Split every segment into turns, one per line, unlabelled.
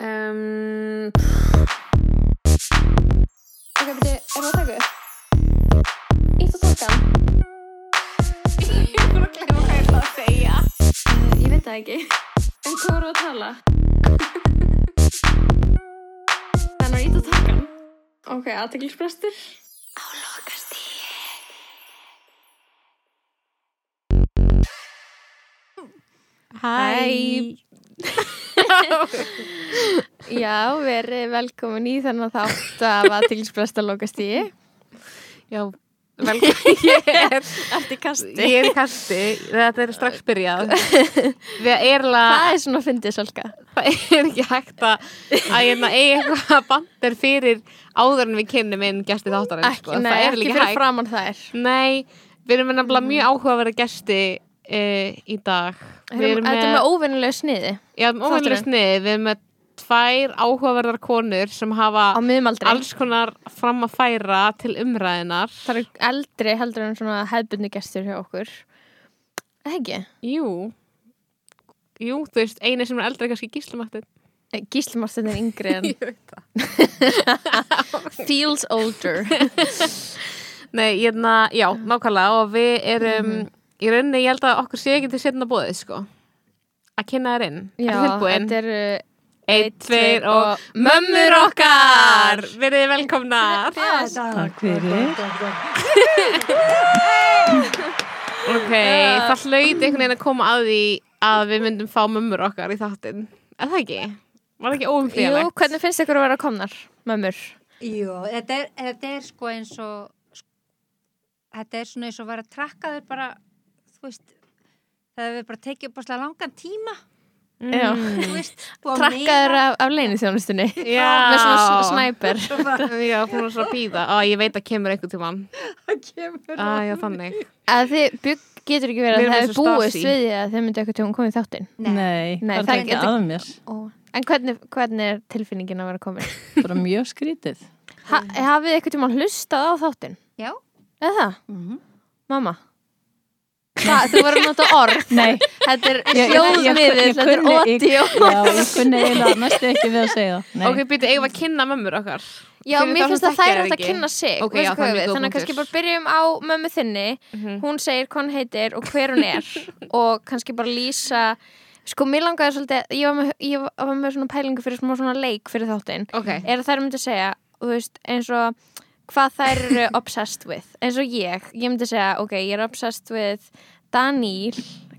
um, Ok, beti, erum við að taka upp? Ítt á takkan
Ég er búin að glemma hvað ég ætla að segja.
uh, Ég veit það ekki En hvað voru að tala? Þannig að ítt á takkan Ok, aðteklisbrestur
Lokast í.
Hæ
Já, verið velkomin í þennan þátt af aðteklisbresta lokast í
Já, velkomin Ég er,
Ertu í kasti?
ég er í kasti Þetta er strax byrjað Við erum
Það
að
er svona fyndið svolka
Það er ekki hægt að að ég maður eigi eitthvað bandir fyrir áður en við kynnum inn gesti þáttarins
Ekki,
sko.
nei,
Það er
ekki
líka
fyrir
hægt
framann þær
Nei, við erum nefnilega mjög áhugaverða gesti uh, í dag Við
Þetta
erum
er
með
með óvennilega sniði
Já, óvæmlega
þátturinn.
snið Við erum með tvær áhugaverðar konur sem hafa
á miðumaldri
alls konar fram að færa til umræðinar
Það eru eldri heldur en svona hefðbundu gestur hjá okkur Eða ekki?
Jú Jú, þú veist, eini sem er eldri er kannski gíslumattin
Gísli Marstein er yngri en
veit það
feels older
Nei, hérna, já, nákvæmlega og við erum,
Mhm.
í rauninni ég held að okkur sé ekki til setna bóðið, sko að kynna þér inn,
Já,
ertu tilbúin?
þetta er uh,
Einn,
einn,
tveir
tveir og-
og mömmur okkar! Verið velkomnar!
Takk fyrir.
Ok, það hlaut einhvern veginn að koma að því að við myndum fá mömmur okkar í þáttinn Er það ekki? Var það ekki
Jú,
óumflýjanlegt?
hvernig finnst ykkur að vera komnar, mömmur?
Jú, þetta er, þetta er sko eins og þetta er svona eins og vera trakkaður bara, þú veist það hefur bara tekið upp áslega langan tíma
Mm.
þú veist, búið að
Trakkaður
meira-
af, af leinithjónustunni
Já
með svona s- snæper
Svo bara,
Já, hún var svona að býða. Á, ég veit að kemur einhvern tímann.
það kemur
Á, já, þannig.
að þið bygg, getur ekki
Við
verið að
erum
það
eins
hefur
og
búist
Stasi.
við því að þið myndu eitthvað tjóðum komið í þáttinn
Nei,
Nei,
það
það
er ekki
getur-
að mér
Ó. En hvernig, hvernig er tilfinningin að vera komin?
bara mjög skrítið
Ha, hafið þið eitthvað tíma hlustað á þáttinn?
Já,
Eða það?
Mhm.
Mamma Hvað, þú voru að nota orð
Nei.
Þetta er
Ég- ég- ég-
hljóðmiðil,
ég
þetta er
kunni- ég-
audio
Já, ég kunni eiginlega næstu ekki við að segja það Nei,
Ok, býtu, eigum við að kynna mömmur okkar.
Já,
Fyrir
mér
þá
finnst
sem
að þær
þekkja
átt að
ekki.
kynna sig
Ok,
veistu
já,
hvað
það er mjög
við?
Mhm. góð
Þannig að kannski bara
punktur.
byrjum á mömmu þinni Hún segir hvað hún heitir og hver hún er Og kannski bara lýsa Sko, mér langaði svolítið Ég var með, ég var með svona pælingu fyrir smá svona leik fyrir þáttinn
Ok.
Er að þær myndi segja, þú veist, eins og Hvað þær eru obsessed with Eins og ég, ég myndi segja, ok, ég er obsessed with Daníl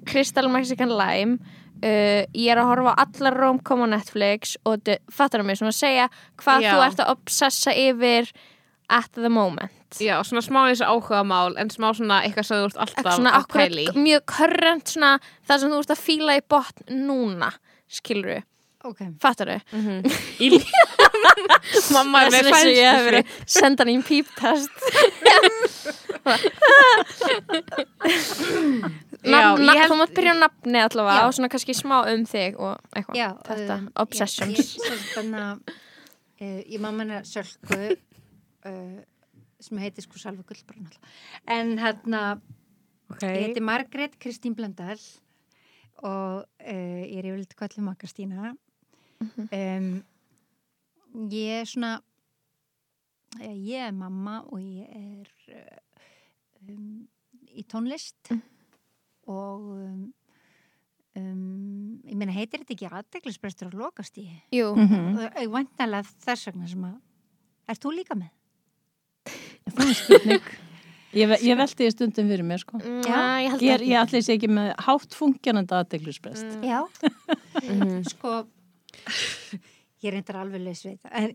Crystal Mexican Lime Uh, ég er að horfa á allar romkom á Netflix og d- fattar mig svona að segja hvað
Já.
þú ert að obsessa yfir at the moment
Já, svona smá eins og áhuga mál, en smá svona eitthvað sem þú ert alltaf
svona
að pæli.
akkurat mjög körrent svona það sem þú ert að fíla í botn núna skilur við,
ok
fattar við
Mamma er með fænslu.
senda hann í píptest
Já,
Nafn-
ég
nafn-
held-
þú mátt byrja á nafni allavega
Já.
og svona kannski smá um þig og eitthvað,
Já,
þetta,
um,
obsessions
Ég, ég, þannig að uh, ég mamma hennar Sölku uh, sem heiti sko Salva Gullbrunn en hérna
Ok.
ég heiti Margrét Kristín Blöndal og uh, ég er yfirleitt kvællu makka Stína um, ég er svona eh, ég er mamma og ég er eh, um, í tónlist og um, um, ég meina heitir þetta ekki aðdeglisbrestur og lokast í
Jú,
Mhm.
og ég vantanlega þess vegna sem að Er þú líka með?
það er spurning Ég, ve- ég velti því stundum fyrir mér sko
mm,
Já.
já, ég held
Ég, er-
ekki
ég allir sé ekki með hátt fungjandi aðdeglisbrest
Mm.
Já. Sko, ég reyndar alveg laus við það. En,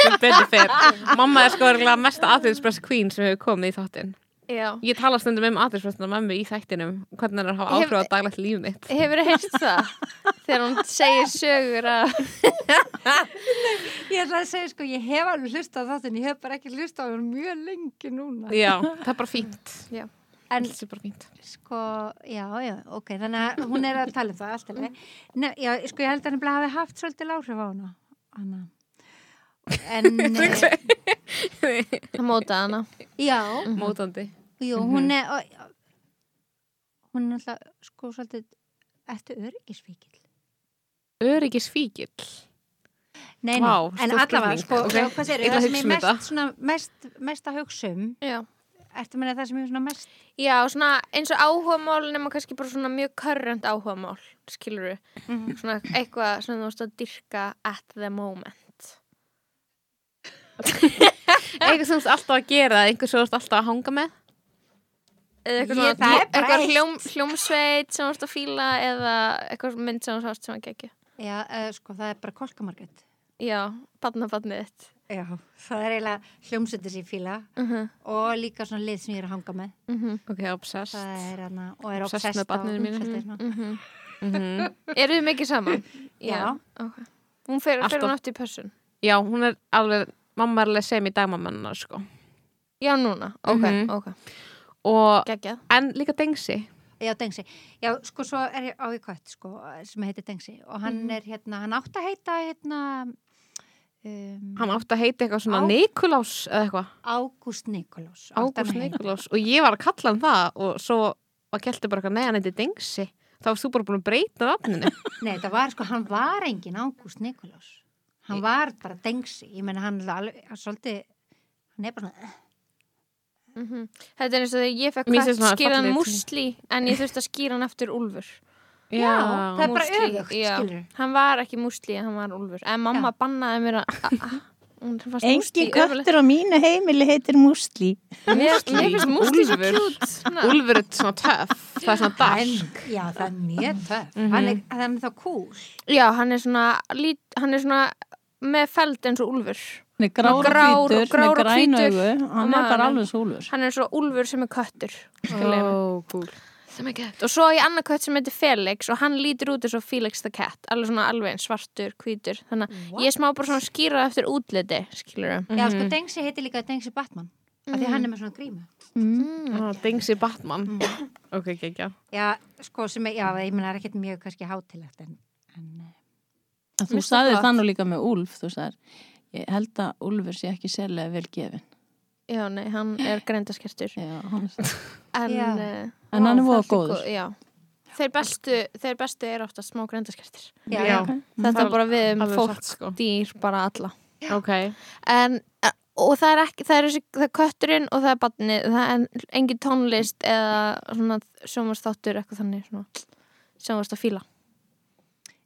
Sem betur fer. Mamma er sko örgulega mesta aðeinspress queen sem hefur komið í þáttinn.
Já.
Ég tala stundum um aðeinspressna mömmu í þættinum, hvernig hann er að hafa
Ég hef-
áhrif á daglegt líf mitt.
Hefur þið heyrt það? Þegar hún segir sögur að
ég ætla að segja, sko, ég hef alveg hlusta á það, en ég hef bara ekki hlusta á það mjög lengi núna.
Já, það er bara fínt.
En
Það er bara fínt.
sko, já, já, ok, þannig að hún er að tala um það alltaf. Nei, já, sko, ég held að hann hafi haft svolítið láhrif á hana. Anna. En, eh,
móta hana
já,
Mhm. Mótandi.
jú, hún er, og- hún er alltaf, sko, svolítið, eftir öryggisvíkil.
Öryggis fíkil.
Nei, nei,
Vá,
en
stór
allavega,
spurning.
sko,
Ok.
já, hvað segir,
Ég ætla að
það sem
hugsa
ég
um
mest,
þetta.
svona, mest, mest að hugsa um,
Já.
ertu að meina það sem ég er svona mest,
Já, svona eins og áhugamál nema kannski bara svona mjög körrönd áhugamál, skilur Svona eitthvað sem þú veist að dyrka at the moment.
Eitthvað sem þú ert alltaf að gera, einhver sem þú ert alltaf að hanga með.
Eða eitthvað,
Ég-
svona,
það er bara
eitthvað
eitt.
hljóm, hljómsveit sem þú veist að fíla eða eitthvað mynd sem þú veist sem að gegja.
já, uh, sko, það er bara kolkamarkett.
Já, badnabarnið þitt.
Já, það er eiginlega hljómsöndir sem ég fíla
Uh -huh,
Mhm.
og líka svona lið sem ég er að hanga með,
uh -huh,
Ok, obsessed.
það er hana, og er
Obsessed með
obsessed hérna.
barninu mínu. Mhm.
mínu.
Eru þið mikið saman?
Já.
ok. Hún fer, fer
Alltaf.
hún oft í pössun?
Já, hún er alveg, mamma er alveg sem í dagmammannar, sko.
Já, núna. Ok,
Mhm.
ok.
Og,
Geggjað.
en líka dengsi.
Já, Dengsi. Já, sko, svo er ég á í kött, sko, sem heitir Dengsi og hann
Mhm.
er hérna, hann átt að heita hérna, um,
Hann átti að heita eitthvað svona
Á-
Nikolás eða eitthvað.
Ágúst Nikolás. átti hann
Ágúst
að heita.
Nikolás. Og ég var að kalla hann það og svo var kelti bara eitthvað, nei, hann heiti dengsi. Þá varst þú bara búin að breyta nafninu.
Nei, það var sko, hann var engin Ágúst Nikolás. Hann var bara Dengsi. Ég menna, hann er alveg, hann svolítið, hann er bara svona,
Mhm. Þetta er eins og þegar ég fekk
Mér finnst
hvert
svona
skýran
fallegt.
musli en ég þurfti að skýra hann eftir úlfur
já, það er bara
Músli,
öfugt,
já.
skilur.
Hann var ekki musli, hann var úlfur En mamma bannaði mér að að- að- hún fannst
Engi
músli ömurlegt.
köttur á mínu heimili heitir Músli.
Mér mér finnst musli svo
Úlfur.
kjút svona.
Úlfur er svona töff. Það er svona dark.
Já, það er mjög töf.
Mhm.
Hann er, hann er þá cool.
Já, hann er svona lít, hann er svona með feld eins og úlfur
Hann er grár og
Grár og-
hvítur,
grár og
með græn
hvítur.
augu, hann er bara
Maðurinn.
alveg súlur.
Hann er svo úlfur sem er köttur oh.
Ó, cool.
Og svo er ég annað kött sem heitir Felix og hann lítur út eins og Felix the Cat alveg svona alveg eins svartur, hvítur Þannig að ég er smá bara svona skýra eftir útliti skilur
Já, sko, Dengsi heitir líka Dengsi Batman. Af því hann er með svona grímu.
Ah, Dengsi Batman. Ok, ekki,
Já, sko, sem er, já, ég menna, það er ekkert mjög kannski hátilegt, en, en eh,
Þú sagði það nú líka með Úlf, þú sagðir. Ég held að Úlfur sé ekki sérlega vel gefin.
Já, nei, hann er greindaskertur
Já, hann
En,
Já.
eh,
En hann er
það
voða
líka-
góður.
Já, þeir bestu, þeir bestu er ofta smá greindaskertir
já,
Já.
Mm.
Þetta
Það
er bara við um
alveg
fólk,
satt, sko.
dýr, bara alla
Ok.
En, eh, og það er ekki, það er, þessi, það er kötturinn og það er badnið Það er engin tónlist eða svona sjónvarsþáttur eitthvað þannig svona sjónvarst að fíla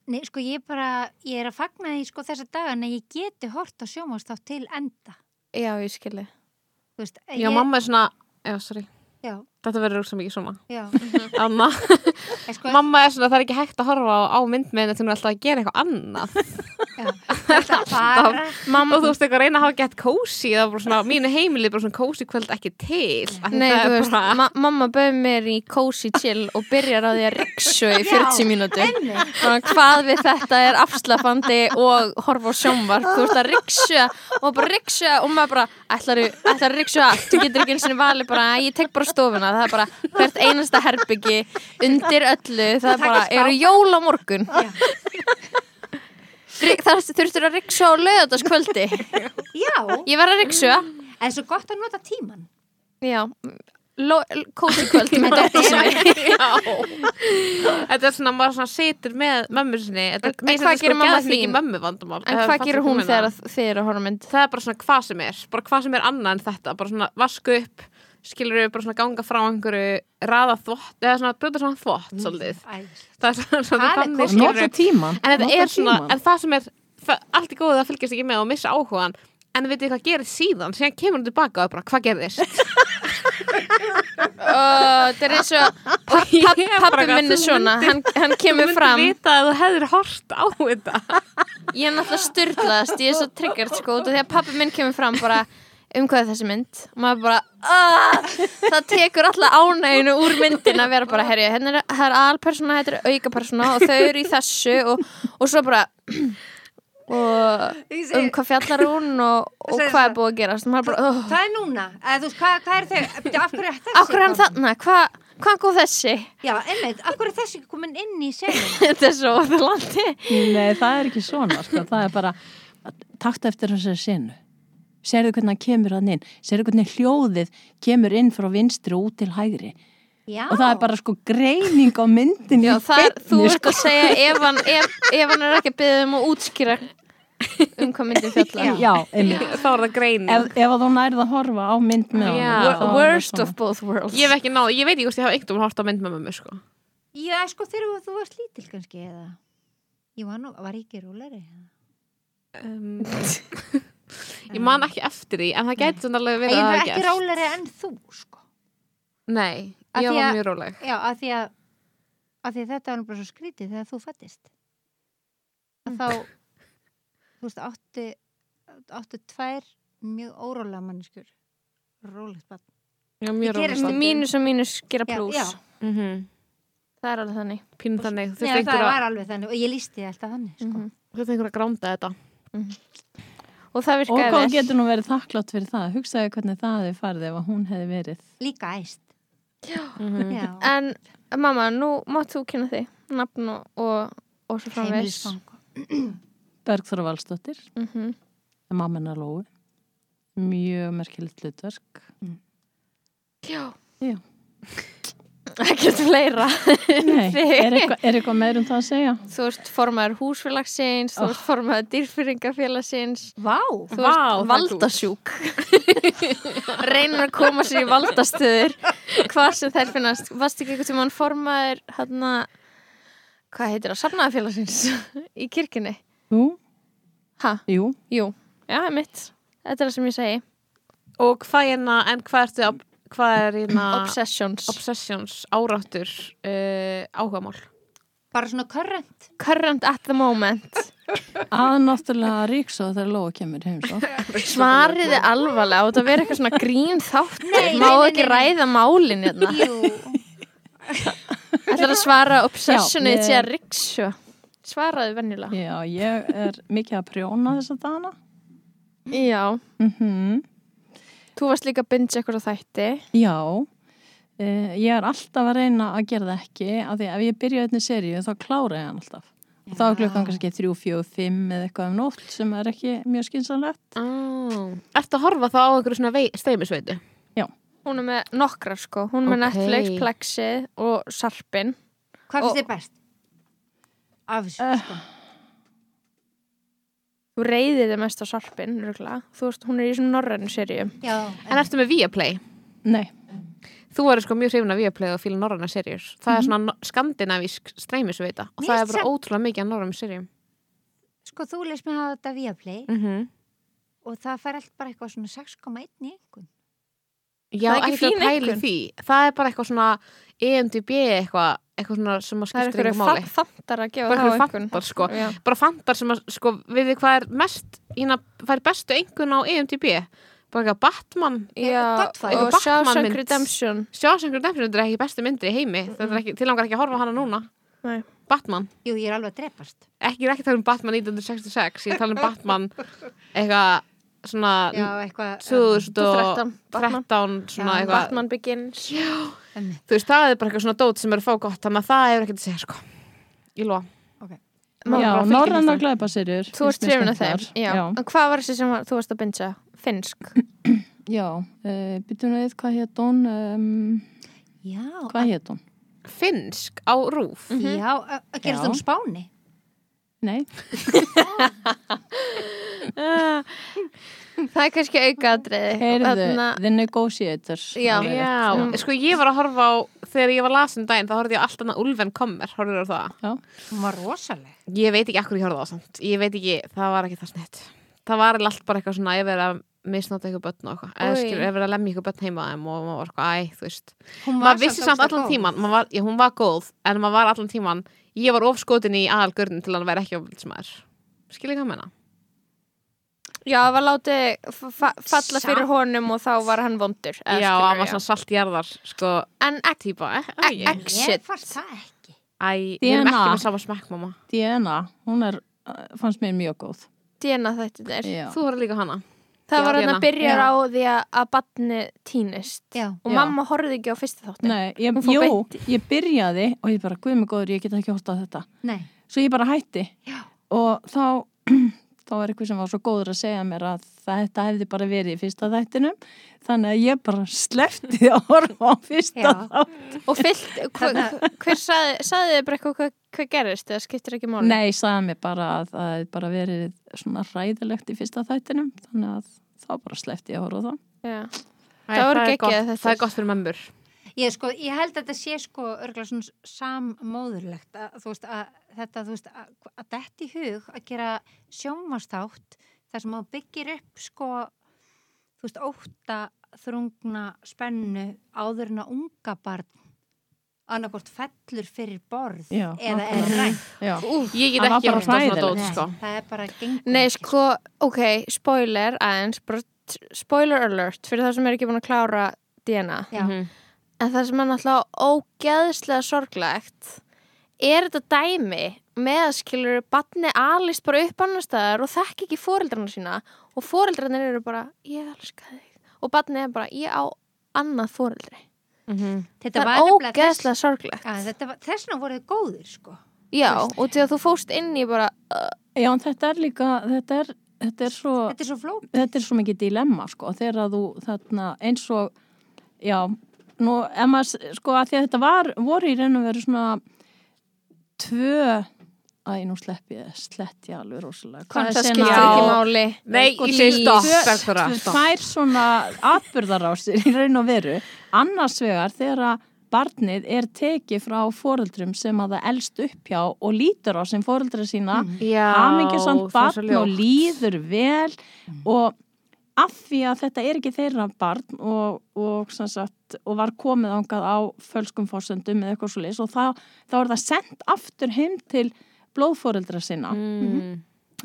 Nei, sko, ég bara, ég er að fagna því, sko, þessa dagana, ég geti hort á sjómastátt til enda.
Já, ég skilji
Þú veist, eh,
Já,
ég,
mamma er svona, já, sorry.
Já,
Þetta verður rúksa mikið svona.
já,
Anna,
en sko,
Mhm. mamma er svona, það er ekki hægt að horfa á, á myndmiðin þetta hún er alltaf að gera eitthvað annað.
já, þetta bara,
Mamma,
Og þú veist, eitthvað að reyna að hafa gett kósi, það er bara svona, mínu heimili er bara svona kósi kvöld ekki til. Af því
Nei,
það
þú
er
veist,
bara-
ma mamma bauð mér í cozy chill og byrjar á því að riksu í 40 mínútur Svona, Hvað við þetta er afslapandi og horfa á sjónvarp Þú veist að riksu og bara riksu og maður bara ætlar að riksu allt Þú getur ekki eins og valið bara, "Æ, ég tek bara stofuna Það er bara hvert einasta herbyggi undir öllu Það er bara, eru jól á morgun Rik- Það þurftur að riksu á lögataskvöldi
já,
Ég verð að riksu
en svo gott að nota tíman.
Já, cozy kvöld með dóttur sinni
Þetta er svona, maður svona situr með mömmu sinni. Þetta,
En- en
mér finnst
hvað
þetta sko
gerir mamma
geðveikt mikið
þín?
mömmu vandamál.
En
Ef
hvað
fattar
gerir
hvað
hún
ég meina.
þegar að- þið eru að horfa á mynd?
um það er bara svona hvað sem er bara hvað sem er annað en þetta bara svona vasku upp, skilur við bara svona ganga frá einhverju, raða þvott eða svona brjóta svona
Mm.
þvott svolítið
Æðislega.
það er svona, svona
Það er
þannig,
kósí.
skilurðu.
Nota tíman.
en þetta
nota
er svona,
tímann.
en það sem er það- allt í góðu að fylgjast ekki með og missa áhugan en veitir hvað gerir síðan, síðan kemur hún tilbaka og er bara hvað gerðist
Uh, það er eins og pappi minn er svona, hann, hann kemur
Þú
fram
myndir vita að þú hefðir hort á þetta
Ég er náttúrulega styrlaðast, ég er svo triggert sko út af því að pappi minn kemur fram bara um hvað er þessi mynd og maður bara "Ah!" það tekur alla ánæginu úr myndin að vera bara herri, hérna er, það er alpersona, þetta er aukapersona og þau eru í þessu og, og svo bara og um hvað fjallar hún og, og
Segðu
hvað
það.
er búið að gerast og maður bara oh.
Hvað er núna? Eða, þú veist, hvað, hvað er þau, Bíddu, af hverju er þessi?
Akkur hann
komin?
þarna, hvað hva góð þessi?
Já, einmitt, af hverju er þessi komin inn í segjum?
Þetta er svo óþurlandi.
Nei, það er ekki svona, sko. það er bara takt eftir þessari sinu sérðu hvernig hann kemur hann inn sérðu hvernig hljóðið kemur inn frá vinstri og út til hægri
Já.
og það er bara sko greining á myndin
Já,
í
það er, þú
beinni,
ert
sko.
að segja ef hann, ef, ef hann er ekki að byggja um að útskýra um hvað myndin fjallar
Já, einmitt.
þá er það
Ef,
greining
ef að þú nærið að horfa á mynd með honum,
Já.
þá er það
worst
svona.
of both worlds
ég, hef ekki náð, ég veit ekki hvort ég hafa einhvern veginn hort á mynd með mömmu sko.
Já, sko þegar þú varst lítil kannski eða Ég var nú, var ég ekki rúleri
um, ég man ekki eftir því en það gæti svona alveg
Ég
verið að
var
hafi
ekki
gerst.
róleri en þú, sko
nei,
Af
ég
því
var
að-
mjög róleg
Já, af því að, af því að þetta var nú bara svo skrítið þegar þú fættist að þá þú veist, áttu áttu tvær mjög órólega manneskjur rólegt barn
ég var mjög
Ég gerist
róleg
í
samt.
mín-
mínus og mínus gera pluss
já.
Mhm.
það er alveg þannig
pínu þannig, þú
Nei,
þurft
það
einhver
var alveg þannig og ég lísti það alltaf þannig sko.
Mhm.
að gránda þetta
og það
Og
virkaði
hvað hún
vel.
getur nú verið þakklátt fyrir það? Hugsaðu hvernig það hefði farið ef að hún hefði verið.
líka æst
Mhm.
Já.
en mamma, nú mátt þú kynna þig nafn og, og, og svo framvegs
Heimilisfang.
Bergþóra Valsdóttir,
mm -hmm.
mamma hennar Lóu. Mjög merkilegt hlutverk.
já
Já.
ekkert fleira
Nei, er eitthvað, er eitthvað meir um það að segja?
þú ert formaður húsfélagsins þú ert formaður dýrfyrringafélagsins
Vá
þú ert
Vá, það er
valdasjúk reynir að koma sér í valdastöður hvað sem þær finnast varst ekki eitthvað sem hann formaður hérna hvað heitir það, safnaðafélagsins í kirkjunni
Jú,
ha,
jú.
jú, já, mitt þetta er það sem ég segi,
og hvað hérna, en hvað ertu ob- hvað er hérna
obsessions
obsessions, áráttur uh, áhugamál
Bara svona körrent
current at the moment
Að náttúrulega ríksóð þegar Lóa kemur heim sko. svo.
svariði alvarlega, átt að vera eitthvað svona grín þáttur, má
Nei, nei, nei,
ekki
nei, nei.
ræða málin hérna
Jú
ætlar að svara obsessionið
Já,
til
ég-
að ríksu svaraði venjulega
Já, ég er mikið að prjóna þessa dana.
já,
Mm
þú varst líka að binge eitthvað á þætti
Já, uh, ég er alltaf að reyna að gera það ekki af því að ef ég byrja einni seríu þá klára ég hann alltaf. Og þá er klukkan kannski 3, 4, 5 eða eitthvað um nótt sem er ekki mjög skynsanlegt.
oh. ertu að horfa þá á einhverju svona vei, steimisveitu
Hún er með nokkra sko, hún er með
Ok.
Netflix, Plexið og Sarpin
Hvað
Og-
finnst þér best? Af þessu sko
Þú reyðir þig mest á Sarpin, rúkla Þú veist, hún er í svona norrænu seríu
Já
en ertu með Viaplay
Nei,
þú eru sko mjög hrifin af Viaplay og fíla norræna serjur það er
Mhm.
svona no- skandinavísk streymisveita og
Mér
það er
finnst
bara
samt-
ótrúlega mikið af norrænum serjum
Sko þú leist mér hafa þetta via play
mm
Mhm.
-hmm.
og það fær allt bara eitthvað svona 6,1 í einhvern
já,
Það er ekki
ekki að
fín
pæli
einkunn.
því það er bara eitthvað svona E EMDB eitthvað eitthvað svona sem að
Það
skiptir
er einhverju
einhverju máli
fa- fantar að gefa
bara
þá
einhverju
einhvern
fantar sko
Já.
bara fantar sem að sko við þið hvað er mest hérna fær bestu einhvern á E EMDB bara eitthvað Batman
Já,
Godfather.
og
Batman
Shawshank
mynd.
Redemption
Sjásengur Redemption þetta er ekki bestu myndir í heimi þetta er ekki, til langar ekki að horfa á hana núna
Nei.
Batman
Jú, ég er alveg að drepast
ekki, ég er ekki að tala um Batman 1966 ég er að tala um Batman eitthvað svona
Já, eitthvað
2013
Batman.
13 svona
Já,
eitthvað
Batman Begins
Einmitt.
þú veist það er bara eitthvað svona dót sem er að fá gott þannig að það er ekki að segja sko ég lofa Má
já,
bara fylgjast
norranna
þeim.
glæpaserjur.
Þú
finnst
ert
mér
trefin af þeim
skemmtilegar.
Já.
Já,
En hvað var þessi sem var, þú varst að binge? Finnsk
já. Uh, Býtum við hvað hétt hún? Um,
Já,
hvað hétt hún?
finnsk á rúf
Mhm. já, að að gerast
Já.
hún spáni
Nei,
Það er kannski aukaðriði
heyrðu, The Negotiators.
Já.
Það er rétt.
já, sko ég var að horfa á þegar ég var lasin um daginn þá horfði ég á allt annað Ulven Kommer horfður á það
Hún var rosaleg
Ég veit ekki akkur ég horfði á það samt Ég veit ekki, það var ekki það snitt Það var allt bara eitthvað svona Ég verið að misnota ykkur börn og eitthvað Eða
Oj.
skilur, ég verið að lemja ykkur börn heima á þeim Og maður var eitthvað, æ, þú veist
Hún
Maður vissi
ógeðslega
samt allan
góð.
tíman var, já, Hún var góð, en maður var allan tíman Ég var ofskotin í aðalgörnin til hann væri ekki ofvöldsmaður Skilur ekki að menna
Já, það var látið fa- fa- falla
Samt.
fyrir honum og þá var hann vondur eða
Já,
skilur,
hann var svona saltjarðar Sko,
En ek-
típa, eh,
ek-
æ,
exit
Ég fannst það ekki
æ Við erum ekki
DNA.
með sama smekk, mamma
DNA, hún er, eh, fannst mér mjög góð.
Dina þetta er
Já.
Þú horfði líka á hana
Það
Já,
var hann
hérna.
Lena.
að byrja
Já.
á því að- að batni týnist
Já.
og
Já.
mamma horfði ekki á fyrsta þáttin
Nei, ég,
Hún fór
jú, ég byrjaði og ég bara, guð mig góður, ég get ekki hótt á þetta.
Nei,
Svo ég bara hætti
Já.
og þá þá var eitthvað sem var svo góður að segja mér að þetta hefði bara verið í fyrsta þættinum þannig að ég bara sleppti að horfa á fyrsta
Já.
þátt
Og fyllt, hver, hver sagði, sagði þið bara eitthvað hvað, hvað gerist eða skiptir ekki máli?
Nei, sagði mér bara að það hefði bara verið svona ræðilegt í fyrsta þættinum þannig að þá bara sleppti ég að horfa á það
Já.
Æ,
Það voru
er
geggjað
gott-
þetta.
Það er gott fyrir mömmur.
Ég, sko, ég held að þetta sé sko örgulega svona sammóðurlegt að, þú veist, að þetta, þú veist, að, að þetta í hug að gera sjónvastátt þar sem þú byggir upp sko, þú veist, ótta þrungna spennu áður en að unga barn annarkort fellur fyrir borð
Já,
eða er
nákvæmlega.
rænt.
Já,
Ég get
Það var
ekki
bara
orðið svona
hræðilegt.
dót, sko.
Nei, það er bara gengur.
Nei,
ekki,
sko, ok, spoiler aðeins, bara t- spoiler alert fyrir það sem er ekki búin að klára DNA.
Já,
Mhm.
En það sem er náttúrulega ógeðslega sorglegt er þetta dæmi með að skilur batni alist bara upp annar staðar og þekk ekki fóreldrarna sína og fóreldrarnir eru bara, ég elska þig og batni er bara, ég á annað fóreldri.
mhm.
Það
þetta var
er
nefnilega þess,
ógeðslega sorglegt.
að, þetta var, þessna voruð góðir sko.
Já, og til að þú fóst inn í bara,
Já, en þetta er líka, þetta er, þetta er svo...
Þetta er svo flók.
þetta er svo mikið dilemma sko þegar að þú þarna eins og já, nú ef maður s- sko að því að þetta var, voru í raun og veru svona tvö æ, nú slepp ég slepp ég alveg rosalega Hvað er
það
sena-
skiptir
Já.
ekki máli.
Nei,
Sko,
ég segi
tvö-
stopp,
tvö-
Bergþóra. stopp.
tvær svona atbyrðarásir í raun og veru annars vegar þegar að barnið er tekið frá foreldrum sem að það elst upp hjá og lítur á sem foreldra sína
Já, það er
hamingjusamt
svo
barn
ljótt. Mm.
og líður vel og af því að þetta er ekki þeirra barn og, og, sem sagt, og var komið ángað á fölskum fórsöndum eða eitthvað svo og þá, þá er það sendt aftur heim til blóðfóreldra sinna
Mm.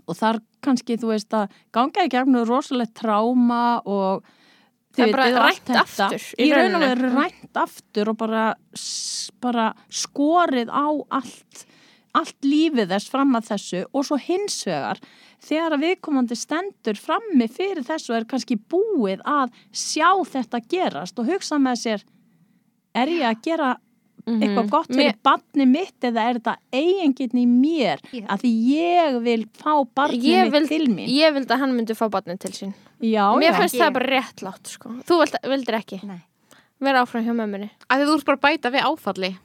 og þar kannski þú veist að ganga í gegnum rosalegt tráma og
Það er
þið
bara
vitið og allt
rænt
þetta.
aftur í
í raun og
rauninni.
veru rænt aftur og bara, s- bara skorið á allt allt lífið þess fram að þessu og svo hins vegar þegar að viðkomandi stendur frammi fyrir þessu er kannski búið að sjá þetta gerast og hugsa með sér er ég að gera eitthvað gott fyrir
Mhm. Mér-
barni mitt eða er þetta eigingin í mér
Já.
að því ég vil fá barni
Ég
mitt
vil-
til mín
Ég vildi að hann myndi fá batni til sín.
já,
Mér
já.
finnst það bara réttlátt sko. Þú vild, vildir ekki
Nei.
vera áfram hjá mömmunni
Af því þú ert bara að bæta við áfalli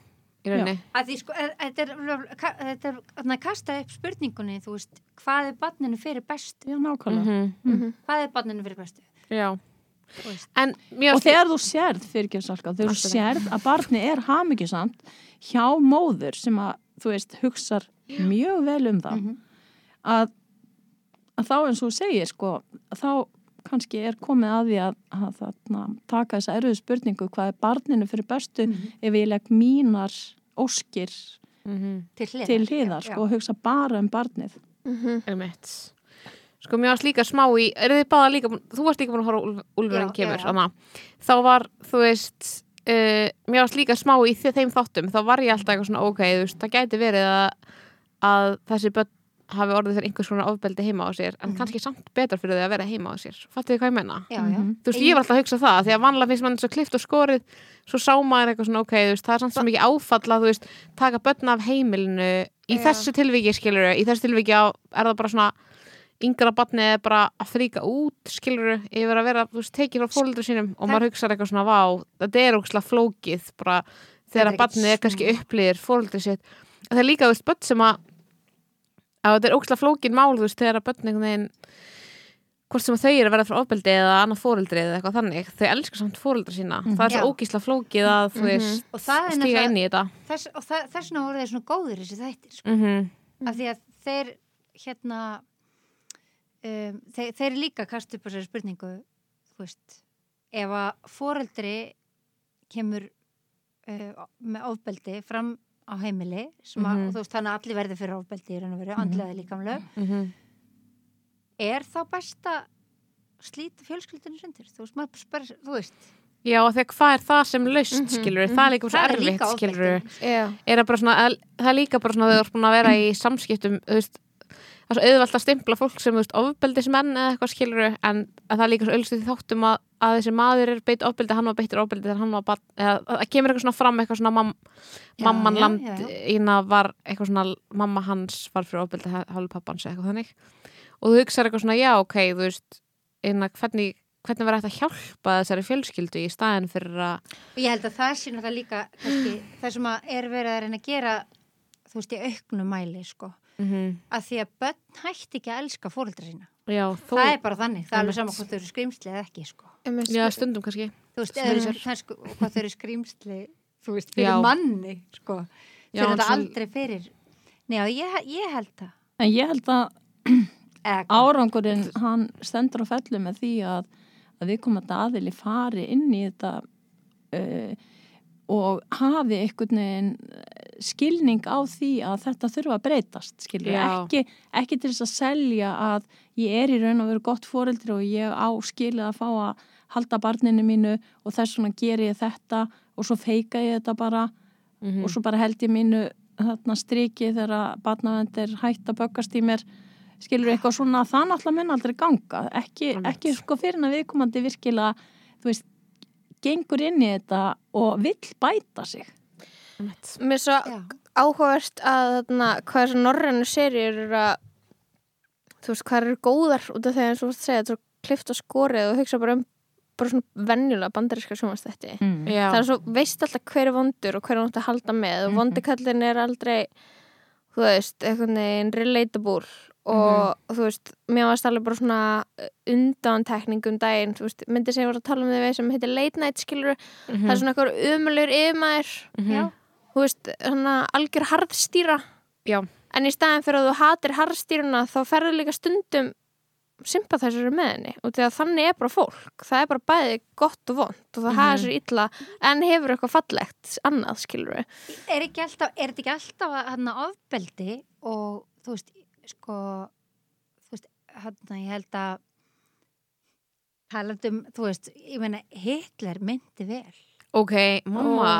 í rauninni.
að því sko, að- að þetta er, ka- þetta er að kasta upp spurningunni, þú veist, hvað er barninu fyrir bestu?
Já, nákvæmlega.
Mhm.
Hvað er barninu fyrir bestu?
Já.
Þú veist.
En mér
og þegar þú sérð fyrirgjöfsalka þegar þú
Alltaf.
sérð að barni er hamingjusamt hjá móður sem að þú veist hugsar mjög vel um það
Mhm.
Mhm.
að, að þá eins og þú segir sko að þá kannski er komið að því að, að þarna, taka þessa erfiðu spurningu hvað er barninu fyrir bestu
Mhm.
ef ég legg mínar óskir
Mhm.
Til hliðar.
til hliðar
Já,
sko, og hugsa bara um barnið
Mhm. Einmitt. Sko, mér varst líka smá í, er þið báða líka, búin- þú varst líka búin að horfa á Úlf-
Já,
Úlfurinn kemur,
já, já.
já, þá var, þú veist, uh, mér varst líka smá í þe- þeim þáttum, þá var ég alltaf eitthvað svona, ok, þú veist, það gæti verið að, að þessi börn hafi orðið fyrir einhvers konar ofbeldi heima á sér, en kannski samt betra fyrir þau að vera heima á sér, fattu þið hvað ég menna?
Já, já.
Mhm.
Þú veist, ég var alltaf að hugsa það, því að vanlega finnst mann svo klift og skorið, svo sá maður eitthvað svona, ok, þú veist, það er samt svo mikið áfall að, þú veist, taka börn af heimilinu í
Já.
þessu tilviki, skilur í þessu tilviki á, er það bara svona yngra barnið er bara að fríka út, skilur yfir að vera, þú veist, tekið frá fólöldur sínum og
Það-
maður hugsa eitthvað svona, vá, þetta er ógslag flókið, bara
er
þegar
ekkert
barnið er kannski upplýðir fólöldur sitt, En það er líka, þú veist, börn sem að að þetta er ógslag flókin mál, þú veist, þegar að börn einhvern veginn hvort sem að þau eru að verða frá ofbeldi eða annað fóreldri eða eitthvað þannig, þau elskar samt fóreldra sína það er
Já.
svo ógísla flókið að þú veist
Og það er
stíga
náttúrulega-
inn í þetta
Þess, og það, þessna voru þeir svona góðir þessi þættir, sko.
mm -hmm.
Af því að þeir, hérna, um, þeir, þeir líka kasta upp þessari spurningu, þú veist, ef að foreldri kemur uh, með ofbeldi fram á heimili, sem að,
Mhm.
þú veist, þannig að allir verði fyrir ofbeldi í raun og veru, andlega líkamlega,
Mm
er þá best að slíta fjölskyldunum sundur þú veist, maður spyr, þú veist
já og þegar hvað er það sem laust mm það er líka svo
Mhm. það er
erfitt
líka
skilur
ofbeldi
Já,
er það bara svona, að- það er líka bara svona þau eru búin að vera í samskiptum þú veist, það er svo auðvelt að stimpla fólk sem þú veist, ofbeldismenn eða eitthvað skilur en að það er líka svo auðvelt í þáttum að, að þessi maður er beitt ofbeldi, hann var beittur ofbeldi þegar hann var barn, eða það kemur eitthvað svona fram eitthvað svona mam,
Já,
mamman
já,
land
já, já.
ína var eitthvað svona mamma hans var fyrir ofbeldi hálf pappans eitthvað þannig og þú hugsar eitthvað svona, já, ok, þú veist innan, hvernig, hvernig var þetta að hjálpa þessari fjölskyldu í staðin fyrir að
Og ég held að það sé náttúrulega líka kannski, það sem að er verið að reyna að gera þú veist, í auknum mæli sko. að því að börn hætti ekki að elska fóreldra sína
já, þó,
það er bara þannig, það er
Einmitt.
alveg sama hvort þau eru skrimsli eða ekki sko.
já, stundum kannski
þú veist,
Snæri
eða
sér.
það er sko, hvort þau eru skrimsli þú veist, fyrir
Já.
manni sko.
Já,
fyrir
en
þetta
svo-
aldrei fyrir Nei, já, ég, ég held það
En ég held að
Eða hvað?
árangurinn hann stendur á fellu með því að, að við komum að daðili fari inn í þetta uh, og hafi einhvern veginn eh, skilning á því að þetta þurfa að breytast skilur,
Já.
ekki, ekki til þess að selja að ég er í raun og veru gott fóreldri og ég á skilið að fá að halda barninu mínu og þess vegna geri ég þetta og svo feika ég þetta bara
Mm. mhm.
og svo bara held ég mínu þarna striki þegar barnavendir hætt að böggast í mér skilur eitthvað svona það náttúrulega mun aldrei ganga ekki,
Einmitt.
ekki sko fyrir en að viðkomandi virkilega þú veist, gengur inn í þetta og vill bæta sig
Einmitt.
Mér er svo
Já.
áhugavert að þarna, hvað þessar norrænu serjur eru að þú veist, hvað eru góðar út af þegar eins og þú varst að segja, þetta er svo klift og skorið og hugsa bara um bara svona venjulega bandaríska sjónvastætti
mm.
já,
það er svo, veist alltaf hver er vondur og hver er nátt að halda með og
Mhm.
vondikallin er aldrei þú veist, einhvern veginn relatable og þú veist, mér varst alveg bara svona undantekning um daginn, þú veist, myndi sem ég var að tala um því sem heitir late night skilur það
Mhm.
er svona eitthvað umulur yfirmaður
Já.
þú veist, svona algjör harðstýra
Já.
en í staðin fyrir að þú hatir harðstýruna þá ferðu líka stundum sympathæsari með henni og því að þannig er bara fólk það er bara bæði gott og vond og það mm
Mhm.
-hmm. hafa sér illa en hefur eitthvað fallegt annað skilur við
er ekki alltaf, er þetta ekki alltaf hann ofbeldi og þú veist, sko þú veist, hann ég held að talandi um, þú veist, ég meina Hitler myndi vel.
ok, mamma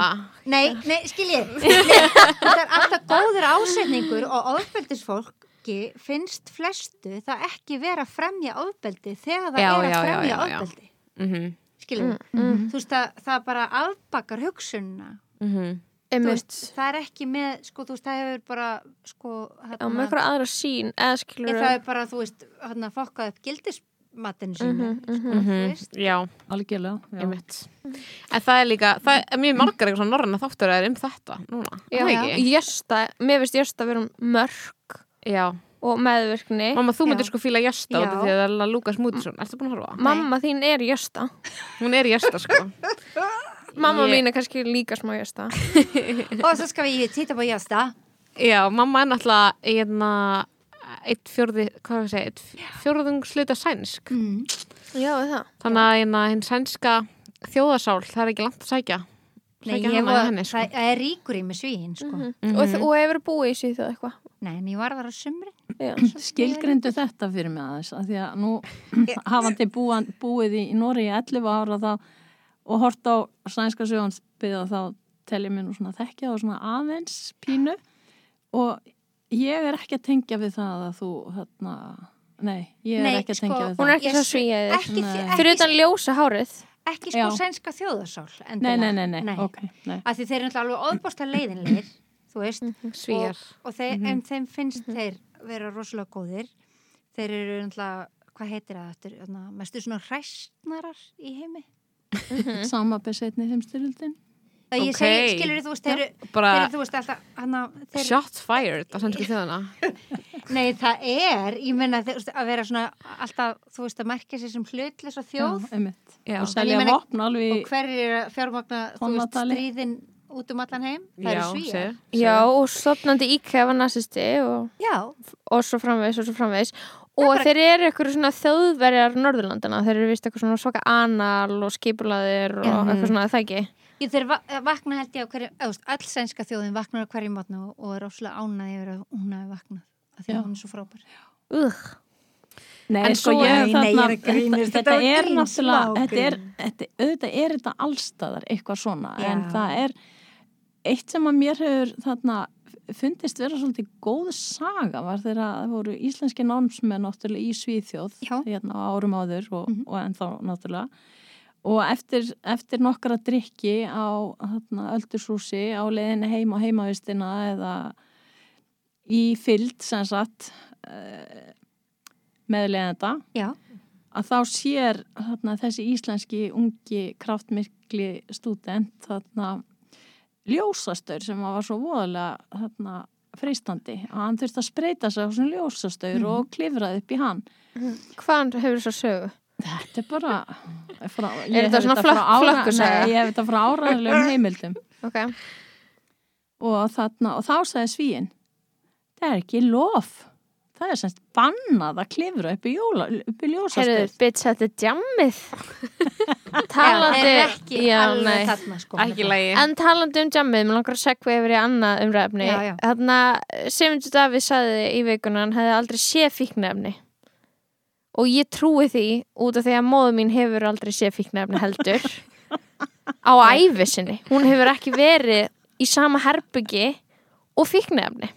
Nei, nei, skiljið þetta er alltaf góður ásetningur og ofbeldisfólki finnst flestu það ekki vera að fremja ofbeldi þegar það
Já,
er að
já, já,
fremja
já, já.
ofbeldi
Mhm,
skiljið, þú veist, það, það bara afbakar hugsunna
mhm.
Þú
einmitt
veist, það er ekki með, sko, þú veist, það hefur bara, sko,
á með eitthvað aðra sín eða skilur
Ég, það er bara, þú veist, hérna fokkað upp gildismatinu
Mhm,
sínu
mhm.
sko, þú
Mhm.
veist.
já,
algjörlega já.
einmitt en það er líka, það er mjög margar eitthvað svona norræna þáttur er um þetta núna,
já,
það
já.
ekki
Jösta, mér finnst Jösta vera mörg
já,
og meðvirkni
mamma þú myndir
Já.
sko fíla jæsta út af
Já.
því að það er Lukas Mútisson, ertu búin að horfa?
mamma þín er Jösta
hún er jæsta sko
mamma
Ég-
mín er kannski líka smá Jösta
Og svo skal við týta búið jæsta.
Já, mamma er náttúrulega einna, eitt fjórði, hvað er að segja, eitt fjórðungsluta sænsk.
Mm.
já, er það
Þannig að einna, hinn sænska þjóðasál, það er ekki langt að sækja.
Nei,
Sækja
ég
hana í
var,
henni, sko.
það það er ríkur í með svíin, sko.
og, þú- og hefur búið í síðu eitthvað
Nei, en ég var þar á sumrin.
skilgrindu þetta fyrir mig aðeins að því að nú hafandi búan, búið í Nóri í 11 ára þá, og hort á sænska sjóhansbyða þá tel ég mér nú svona þekkja og svona aðeins pínu og ég er ekki að tengja við það að þú hérna, nei, ég er
Nei,
ekki að
sko,
tengja við
Hún
það
er ekki
Ég
svo
sé-
svíið
Ekki,
Nei.
ekki,
Fyrir
ekki,
utan ljósa hárið
ekki sko
Já.
sænska þjóðasál.
nei,
endilega.
nei, nei, nei, ok nei.
Af því þeir eru náttúrulega alveg ofbósta leiðinleir, þú veist.
Mhm, Svíjar.
og, og þeir,
Mhm.
en þeim finnst þeir vera rosalega góðir þeir eru náttúrulega, hvað heitir það þetta er náttúrulega mestu svona hræstnarar í heimi Mm.
sama besetni heimstyrjöldin
það
Ókei.
ég segi, skilur þú veist, þeir eru þeir,
Bara
eru, þú veist alltaf hana, þeir,
shots fired á sænsku þjóðana.
nei það er, ég menna að vera svona alltaf, þú veist að merkja sér sem hlutlösa þjóð
einmitt.
Já.
En
og
ég
selja
meina-
vopn alveg
og hver er að fjármagna þú veist,
Tonnatali.
stríðin út um allan heim það eru
segðu,
svíja
segðu.
Já, og stofnandi íkæfa nazisti og,
já,
og svo framvegis og svo framvegis og þeir eru eitthvað svona þjóðverjar Norðurlandana, þeir eru vist eitthvað svona svaka anal og skipulaðir og
Mhm.
eitthvað svona, er það ekki
Ég þeir va eh, vakna held ég á hverju, eða þú veist, öll sænska þjóðin vaknar á hverju matna og, og er óslega ánæði yfir að hún hafi vaknað, af því
Já.
að hún er svo frábær.
Ugh.
Nei,
En
sko
svo-
ég
Nei, nei,
þarna,
ég er að grínast.
þetta,
Þetta var
er
grín,
náttúrulega,
smá
þetta er,
grín.
þetta, auðvitað er þetta allstaðar eitthvað svona, en
Já.
það er eitt sem að mér hefur þarna fundist vera svolítið góð saga var þegar að það voru íslenski námsmenn náttúrulega í Svíþjóð
Já.
hérna á árum áður og, og ennþá náttúrulega og eftir, eftir nokkra drikki á þarna, öldursúsi á leiðinni heim á heimavistina eða í fyllt sem sagt eh, meðlegenda
Já,
að þá sér þarna, þessi íslenski ungi kraftmikli stúdent þarna ljósastur sem að var svo voðalega þarna freistandi að hann þurfti að spreita sig á svona ljósastaur
Mhm.
og klifraði upp í hann
Hvaðan hefur þess að sögu?
þetta er bara frá, ég
þetta
hef
svona
frá
flökk-
ára-
flökkusaga?
nei, ég hef þetta frá áraðilegum heimildum
Ok,
og, þarna, og þá sagði svíin það er ekki lof það er semst bannað að klifra upp í, jóla, upp í
heyrðu,
ljósastaur
bitch, þetta er djammið
það
Talandi
er ekki
Já,
alveg
nei.
þarna sko.
ekki lægi
En talandi um jammið, mér langar að segja yfir í annað umræfni.
Já, já.
Þarna, Simundur Davíð saði í vikuna, hann hefði aldrei séð fíknefni. Og ég trúi því út af því að móðu mín hefur aldrei séð fíknefni heldur. á ævi sinni. Hún hefur ekki verið í sama herbyggi og fíknefni.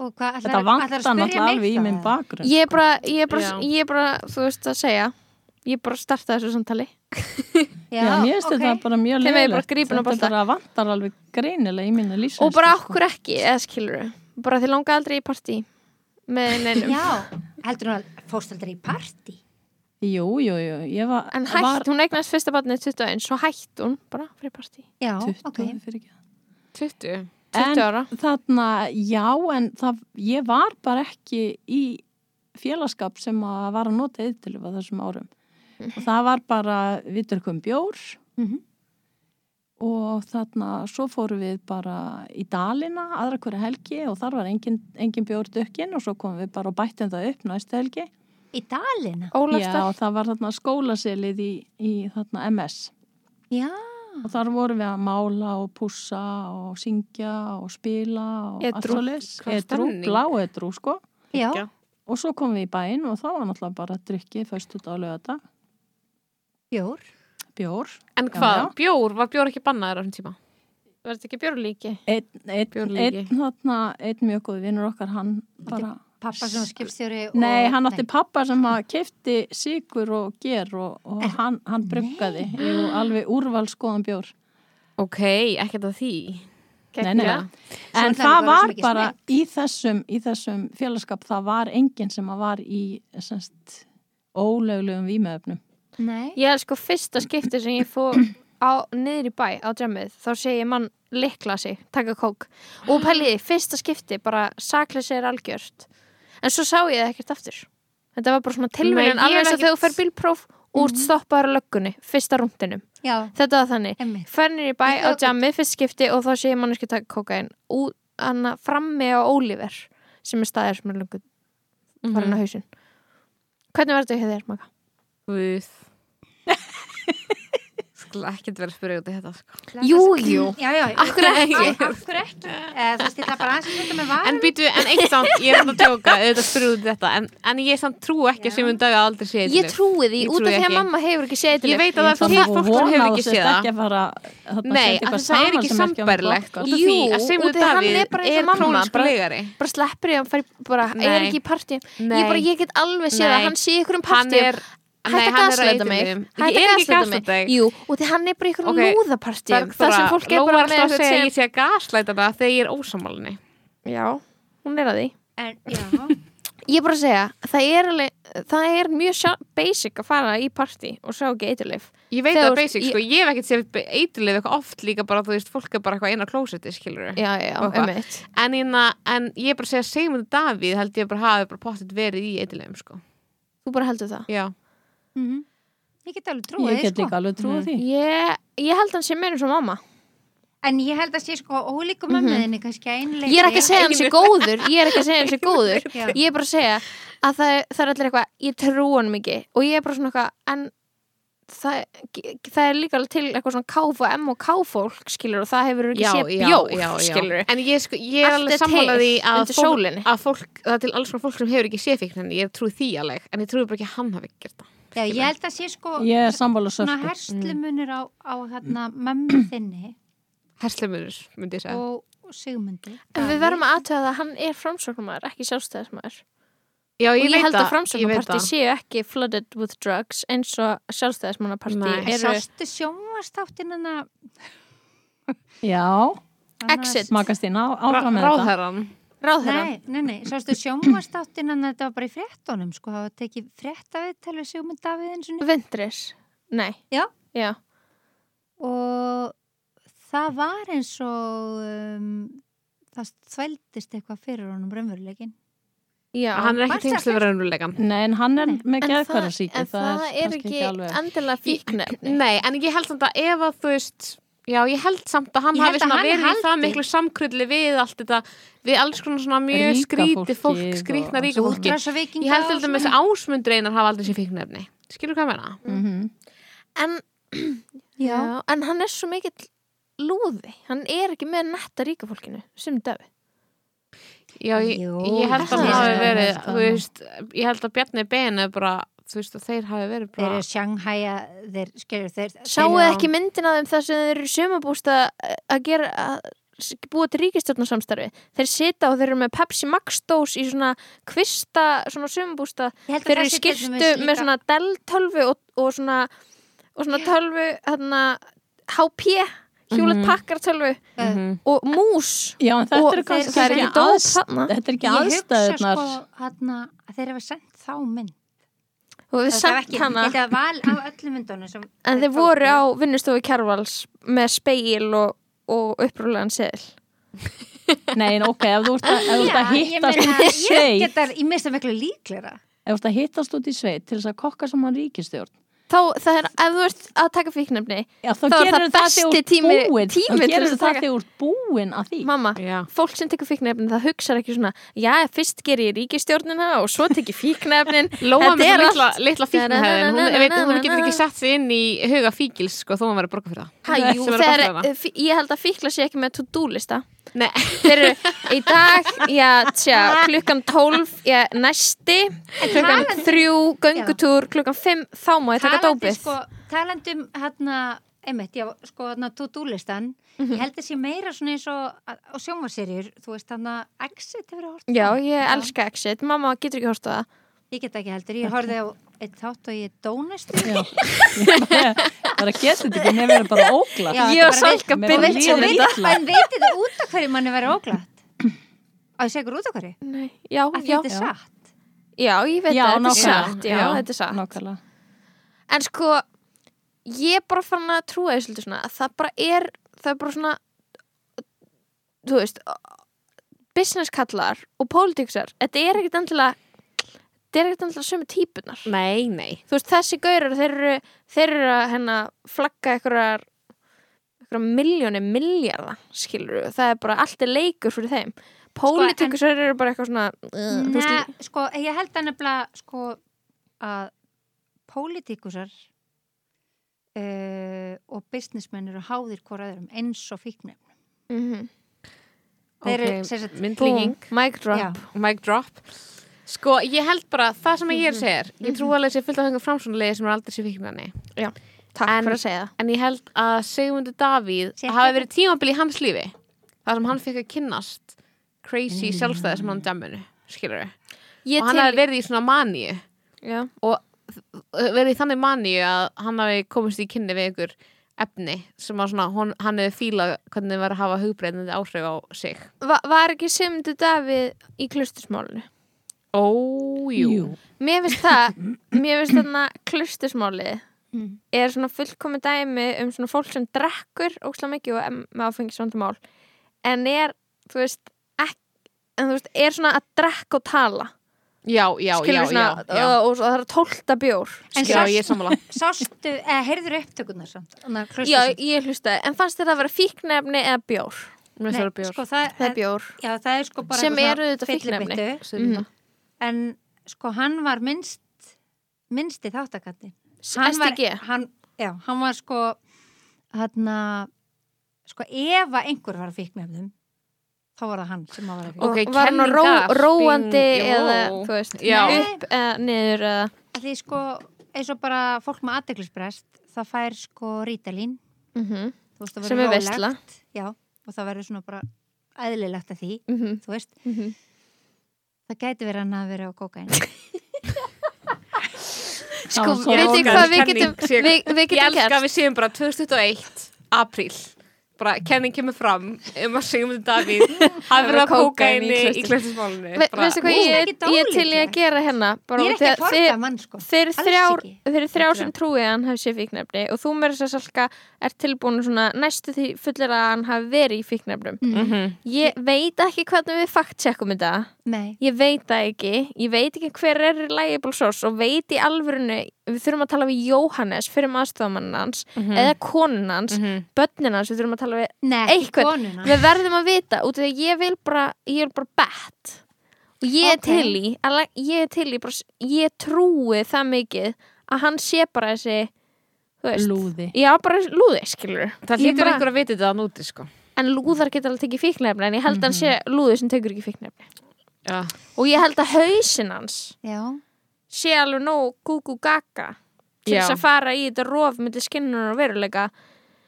Og hvað, ætlar,
þetta vantar náttúrulega alveg í minn bakgrunn
Ég er bara, ég er bara,
Já.
ég er bara, þú veist að segja, ég er bara að starta þessu samtali.
Já,
Já, mér finnst þetta bara mjög
Þeim
leiðilegt.
er bara grípin og
Þetta
bolta.
bara vantar alveg greinilega í mínu sko. lýsins.
Og bara okkur ekki, eða skilur Bara þið langa aldrei í partí með neinum.
Já, heldur hún að fórst aldrei í partí
Jú, jú, jú. Ég var...
En hætt,
var,
hún eignast fyrsta barnið 21, svo hætt hún bara fyrir partí.
Já,
20,
ok
fyrir ekki.
20
En
20 ára.
Þarna, já, en það, ég var bara ekki í félagskap sem að var að nota yðtilif á þessum árum.
Mhm.
Og það var bara, við drukkum bjór
Mhm.
og þarna, svo fórum við bara í Dalina, aðra hverja helgi og þar var engin, engin bjór dukkin og svo komum við bara og bættum það upp næstu helgi.
Í Dalina?
Ólafsdal.
Já, það var þarna skólaselið í, í þarna MS
Já,
Ah.
og þar vorum við að mála og pússa og syngja og spila og
Edrú.
svoleiðis.
Hvað
edrú,
stemning.
blá edrú sko
já,
Ekki.
og svo komum við í bæinn og þá var náttúrulega bara að drikki fyrst út á lögata,
bjór
bjór
En
Já,
hvað?
já.
Bjór? Var bjór ekki bannaður á þessum tíma?
Var þetta ekki björnlíki?
einn ein, ein,
Bjórlíki.
þarna, einn mjög góð vinnur okkar hann bara,
Pappa sem var skipstjóri og,
nei hann átti pappa sem að kefti sigur og ger og, og hann, hann bruggaði Jú, alveg úrvalskoðan bjór
Ok, ekkert að því
Nei, nei.
Geggjað.
Svo
En
er það
það
bara svo
var
mikið
bara í þessum, í þessum félagskap, það var enginn sem að var í semst, ólöglegum vímöfnum.
Nei,
Ég er sko fyrsta skipti sem ég fór á, niður í bæ á djemið, þá sé ég mann likla sig, taka kók. Og pæliði, fyrsta skipti, bara saklega sér algjört. En svo sá ég það ekkert aftur. Þetta var bara svona
Nei, ég
tilvægin,
er
alveg
ekkert-
eins og
Mhm.
þegar þú fer bílpróf og úr stoppaður á löggunni, fyrsta rúndinum.
já,
Þetta var þannig.
emmi
Fernir í bæ á
Þetta var
jammið fyrst skipti og þá sé ég manneski taka kókain Ú- Anna frammi á Oliver sem er staðir sem er lungu farin á hausinn Hvernig verður þetta hjá þér, Maga?
Guð Skla ekkert vera að spyrja út í þetta sko.
Jú, jú.
Já, já,
Akkur ekki.
Akkur ekki Eh, Þú veist, ég ætla bara aðeins að þetta með var
En býtu, en eitt samt, ég er hann að tjóka auðvitað spyrja út í þetta, en, en ég samt trú ekki
Já.
sem um dag að aldrei sé
Ég trúi því,
Ég
út af
trúi
því að
ekki.
mamma hefur ekki séð
Ég veit að það er
Þannig
fullt fólk
að vona
sem
að
hefur
þú
ekki
sért
séð það
ekki að fara að
Nei, af þess að það er ekki sambærilegt út af því
Jú,
að Sigmundur
út af því hann
Davíð
er bara eins og sko. mamma,
krónískur
bara-
leigari.
bara sleppur ég hann fær bara, er
Nei.
ekki í partíum
Nei.
ég bara, ég get alveg séð
Nei.
að hann sé í einhverjum
Hann
partíum
er- Nei, hann
hætt að
er á
gasleita mig
eiturlyfjum.
hætt að
Ég er ekki
gasleita
gaslighta
mig.
þig.
jú, og því hann er bara í einhverjum
Ok,
okay. lúðapartíum þar sem fólk er
Lóa
bara með
alltaf að
eitthvað
segja að
sem
ég sé að gaslæta það þegar ég er ósamálinni
já, hún er að því
En, já,
Ég er bara að segja, það er, alveg, það er mjög sjá- basic að fara í partí og sjá ekki eiturlif.
Ég veit
Þegar
það
þú-
basic, sko, ég hef ekkert séð eiturlið eitthvað oft líka bara, þú veist, fólk er bara eitthvað inn á klósetti, skilur við
Já, já,
Og hvað?
ummitt.
en, inna, en ég er bara að segja Sigmundur Davíð held ég bara hafi bara pottet verið í eiturliðum, sko
Þú bara heldur það.
Já,
mhm. ég get alveg trúið
Ég
því, sko.
get líka alveg trúið því.
Ég, ég held hann sem meira svo mamma.
En ég held að sé sko ólíku mömmuðinni kannski að einleiti
Ég er ekki að segja hann sem góður, ég er ekki að segja hann sem góður.
Já.
Ég er bara að segja að það, er- það er allir eitthvað, ég trú hann mikið og ég er bara svona eitthvað, en það, það er líka alveg til eitthvað svona káf og M og káfólk, skilur, og það hefur ekki
já,
séð
já,
bjór,
já, já.
skilur.
En ég, sko, ég er
Allt er
alveg sammála
til
því að
undir
fólk,
sólinni.
að fólk það er til alls konar fólk sem hefur ekki séð fíkn ég trúi því alveg, en ég trúi bara ekki að hann hafi gert það
Já, ég held að sé sko
Ég er sammála
svona
sörku.
herslumunur á, á hérna mömmu þinni
Herslumunur, myndi ég segja
og og Sigmundi
En við verðum að aðtöða að hann er framsóknumæður, ekki sjálfstæðismæður.
Já,
og ég
veit það,
held að
ég veit
framsögnarparti
það.
séu ekki flooded with drugs eins og sjálfstæðismannaparti
Nei.
eru
Sástu sjónvastáttin hana
Já,
Exit.
smakast þín á,
Rá-
áfram með þetta.
Ráðherrann Ráðherra?
Nei, nei, nei, sástu sjónvastáttin en þetta var bara í fréttonum sko, það var tekið fréttaviðtal við Sigmund Davíð eins og
Vindris? Nei.
Já.
Já.
og það var eins og um, það þvældist eitthvað fyrir honum raunveruleikin.
Já.
Hann er ekki
Varstu
tengslu við raunveruleikan.
Nei, en hann er
Nei.
með
En
geðkværa
en
það,
það er
kannski
ekki
alveg
endilega fíknefni.
Nei, en ég held samt að ef að þú veist Já, ég held samt að hann
Ég
hafi
held að
svona
hann
verið í
haldi.
það miklu samkrulli við allt þetta, við alls konar svona mjög
Ríka
skríti
fólkið
fólk,
og-
skrítna ríka fólki
Útrásarvikinga.
Ég held til dæmis að ásmundur einar hafa aldrei sér fíknefni Skilur hvað ég meina?
Mhm.
En,
Já.
já, en hann er svo mikill lúði. Hann er ekki með netta ríka fólkinu sem Davi.
Já, ég,
Jú,
ég held að hann hafi
það er svona
verið
eitthvað.
þú veist, ég held að Bjarni Ben er bara, þú veist, að þeir hafi verið
Þeir
bara,
eru sjanghæja, þeir, skilur, þeir...
Sáu
þeir-
þið ekki myndin af þeim þar sem þeir eru sumabústa að gera að s- búa til ríkistjórnarsamstarfi. Þeir sita og þeir eru með Pepsi Max dós í svona kvista, svona sumabústa.
Ég held að
Þeir eru
það
í
sé til dæmis
skirtu
líka-
með svona Dell tölvu og, og svona, og svona tölvu, hérna, HP,
Mhm.
hjólet pakkar tölvu
Eh,
og mús.
Já, en þetta
Og
er kannski
það er
ekki
ekki dóp
aðst-
þarna.
Þetta er ekki
Ég hugsa
aðstæðunar
sko hana, að þeir hafa sendt þá mynd
Og við
Það var
samt
ekki,
hana.
Þetta var val á öllum myndunum sem
En þeir voru á vinnustofu Kjarvals með speil og, og upprúlegan seðil.
Nei, en ok, ef þú ert að, ef þú ert að
Já, ég
hittast
meina,
út í
Ég
sveit
geta, ég mista miklu líklega
Ef þú ert að hittast út í sveit til þess að kokka saman ríkistjórn
Þá, það er, ef þú ert að taka fíknefni,
Já, þá
Þá er
gerir
það besti tími-
búin
tími
Þá
til
gerir
þess að
það
taka-
þegar úr búin að því
mamma,
Já.
fólk sem tekur fíknefni, það hugsar ekki svona, já, fyrst ger ég ríkistjórnina og svo tek ég fíknefnin.
Lóa
Þetta
með
er
litla,
allt-
litla fíknahæðin hún, ég veit, hún getur
Na-na-na-na-na-na.
ekki sett sig inn í huga fíkils sko, þó hún var að borga fyrir það
Hæ,
Sem
jú,
er að
þegar, eh,
basla hana.
fí- ég held að fíkla sé ekki með to-do-lista.
Nei,
Þeir eru í dag, já, tja, klukkan 12, já, næsti, klukkan
talandi-
3, göngutúr, klukkan 5, þá má ég taka
Talandi,
dópið.
sko, talandum hérna einmitt, já, sko, hérna to-do-listan
Mhm.
ég held að sé meira svona eins og að- á sjónvarserjur, þú veist hérna Exit hefur að horta
Já, ég elska exit, mamma getur ekki horft á það.
Ég get ekki heldur, ég horfði á eitt þátt og ég um dónastu
Já, ég bara- bara getur þetta ekki nefnir bara ógla
Já,
Ég og
þetta bara
Salka
veit-
byrjum
veit-
líður
veit-
illa.
En veitir það út af hverju manni verið óglætt? Á ég segur út af hverju?
Nei, já,
Að
já,
þetta er satt
já, ég veit
Já,
að þetta er
nákvæmlega,
satt, já,
já,
þetta er satt.
Nákvæmlega
En sko, ég er bara fann að trúa því svolítið svona að það bara er, það er bara svona, þú veist, business kallar og politiksar, þetta er ekkert endilega, þetta er ekkert endilega sömu típunar.
nei, nei
Þú veist, þessi gaurar, þeir eru, þeir eru að hérna flagga einhverjar, einhverjar miljóni miljarda, skilur það er bara, allt er leikur fyrir þeim. Politikusar eru bara eitthvað svona, uh, þú veist,
Nei, sko, ég held að nefnilega sko, að pólitíkusar uh, og businessmenn eru háðir hvora öðrum eins og fíknefnum.
mhm.
Þeir eru,
Ok,
sem sagt,
myndlíking,
Boom. Mic drop
Já.
mic drop Sko, ég held bara, það sem ég er að segja er ég
Mhm.
trú alveg að sé fullt af þengu framsónulegi sem er aldrei sér fíknefni
Takk
En-
fyrir að segja það
en ég held að Sigmundur Davíð
Sé ekki
hafi
þetta.
verið tímabil í hans lífi þar sem hann fekk að kynnast crazy sjálfstæði sem hann dæminu skilur við,
Mm. Ég
og hann hafi
til
verið í svona maníu eh,
Já.
verið í þannig maníu að hann hafi komist í kynni við einhver efni sem að svona, hon, hann hefði fílað hvernig það var að hafa hugbreyndandi áhrif á sig
Va Var ekki Sigmundur Davíð í klustusmálinu?
ójú
Jú.
Mér finnst það Mér finnst þarna klustusmáli
Mm.
er svona fullkomi dæmi um svona fólk sem drekkur óslega mikið og em- með áfengisvandamál en er, þú veist ek, en þú veist, er svona að drekka og tala
já, já, já,
Skilurðu
já,
svona,
já.
Og, og það er að tólta bjór
En
já, ég er sammála
sástu, eða heyrður upptökunar samt. Ná,
Já, ég hlustaði, en fannst þér að vera fíknefni eða bjór?
Mér finnst það bjór.
sko, það,
Það er bjór
Já, það er sko bara
Sem
eitthvað
eru
svona
auðvitað fíkniefni.
fyllibittu.
Mhm.
En sko, hann var minnst, minnsti þáttakandi.
SDG.
Var, hann, já, hann var sko, hann sko, ef að einhver var að fíknefnum, þá var það hann sem að var að fíknefnum.
Ok,
og var hann
kenningar,
ró,
bing,
róandi
jó.
eða þú veist,
Já.
upp eða niður eða
að því sko eins og bara fólk með aðdeklisbrest það fær sko rítalín
mm -hmm.
þú veist, það
Sem
verður
er
rólegt.
veisla.
já, og það verður svona bara eðlilegt að því,
Mhm.
þú veist
Mhm.
það gæti verið hann að vera á kókain
Sko,
veit ég hvað við getum við, við
Ég
getum
elska að
gert
við séum bara 2021 apríl bara kenning kemur fram um að Sigmundur Davíð hafi verið að kóka
kókaín í
inni í
Klaustri.
klestismálunni
Ve- veistu hvað
Nú,
ég, ég
ekki
er til í
dálíklegt.
að gera hérna bara
Ég er ekki að
út af því
forga
að
mann sko
þeir
Alls
þrjár,
ekki.
þeir þrjár sem trúið að hann hafi séð fíknefni og þú meira þess að salka er tilbúin svona næstu því fullir að hann hafi verið í fíknefnum
Mm.
Mhm.
ég veit ekki hvernig við faktsekkum þetta
Nei,
ég veit það ekki, ég veit ekki hver er liable source og veit í alvörinu við þurfum að tala við Jóhannes fyrir aðstofamann hans
Mhm.
eða konun hans, mm
Mhm.
börnin hans, við þurfum að tala við
nei,
Eitthvað.
konuna
við verðum að vita út af því að ég vil bara ég vil bara bet og ég er
Ok.
til í að la- ég er til í bara, s- ég trúi það mikið að hann sé bara þessi þú veist,
lúði
já bara lúði skilur
Það
Ég
lítur
bara-
einhver að viti þetta að núti sko
en lúðar geta alveg tekið fíknefni en ég held að hann sé lúði sem tekur ekki fíknefni
Já,
og ég held að hausinn hans
Já,
sé alveg nóg gúgú gaga til
Já.
þess að fara í þetta rof myndi skinnunar og veruleika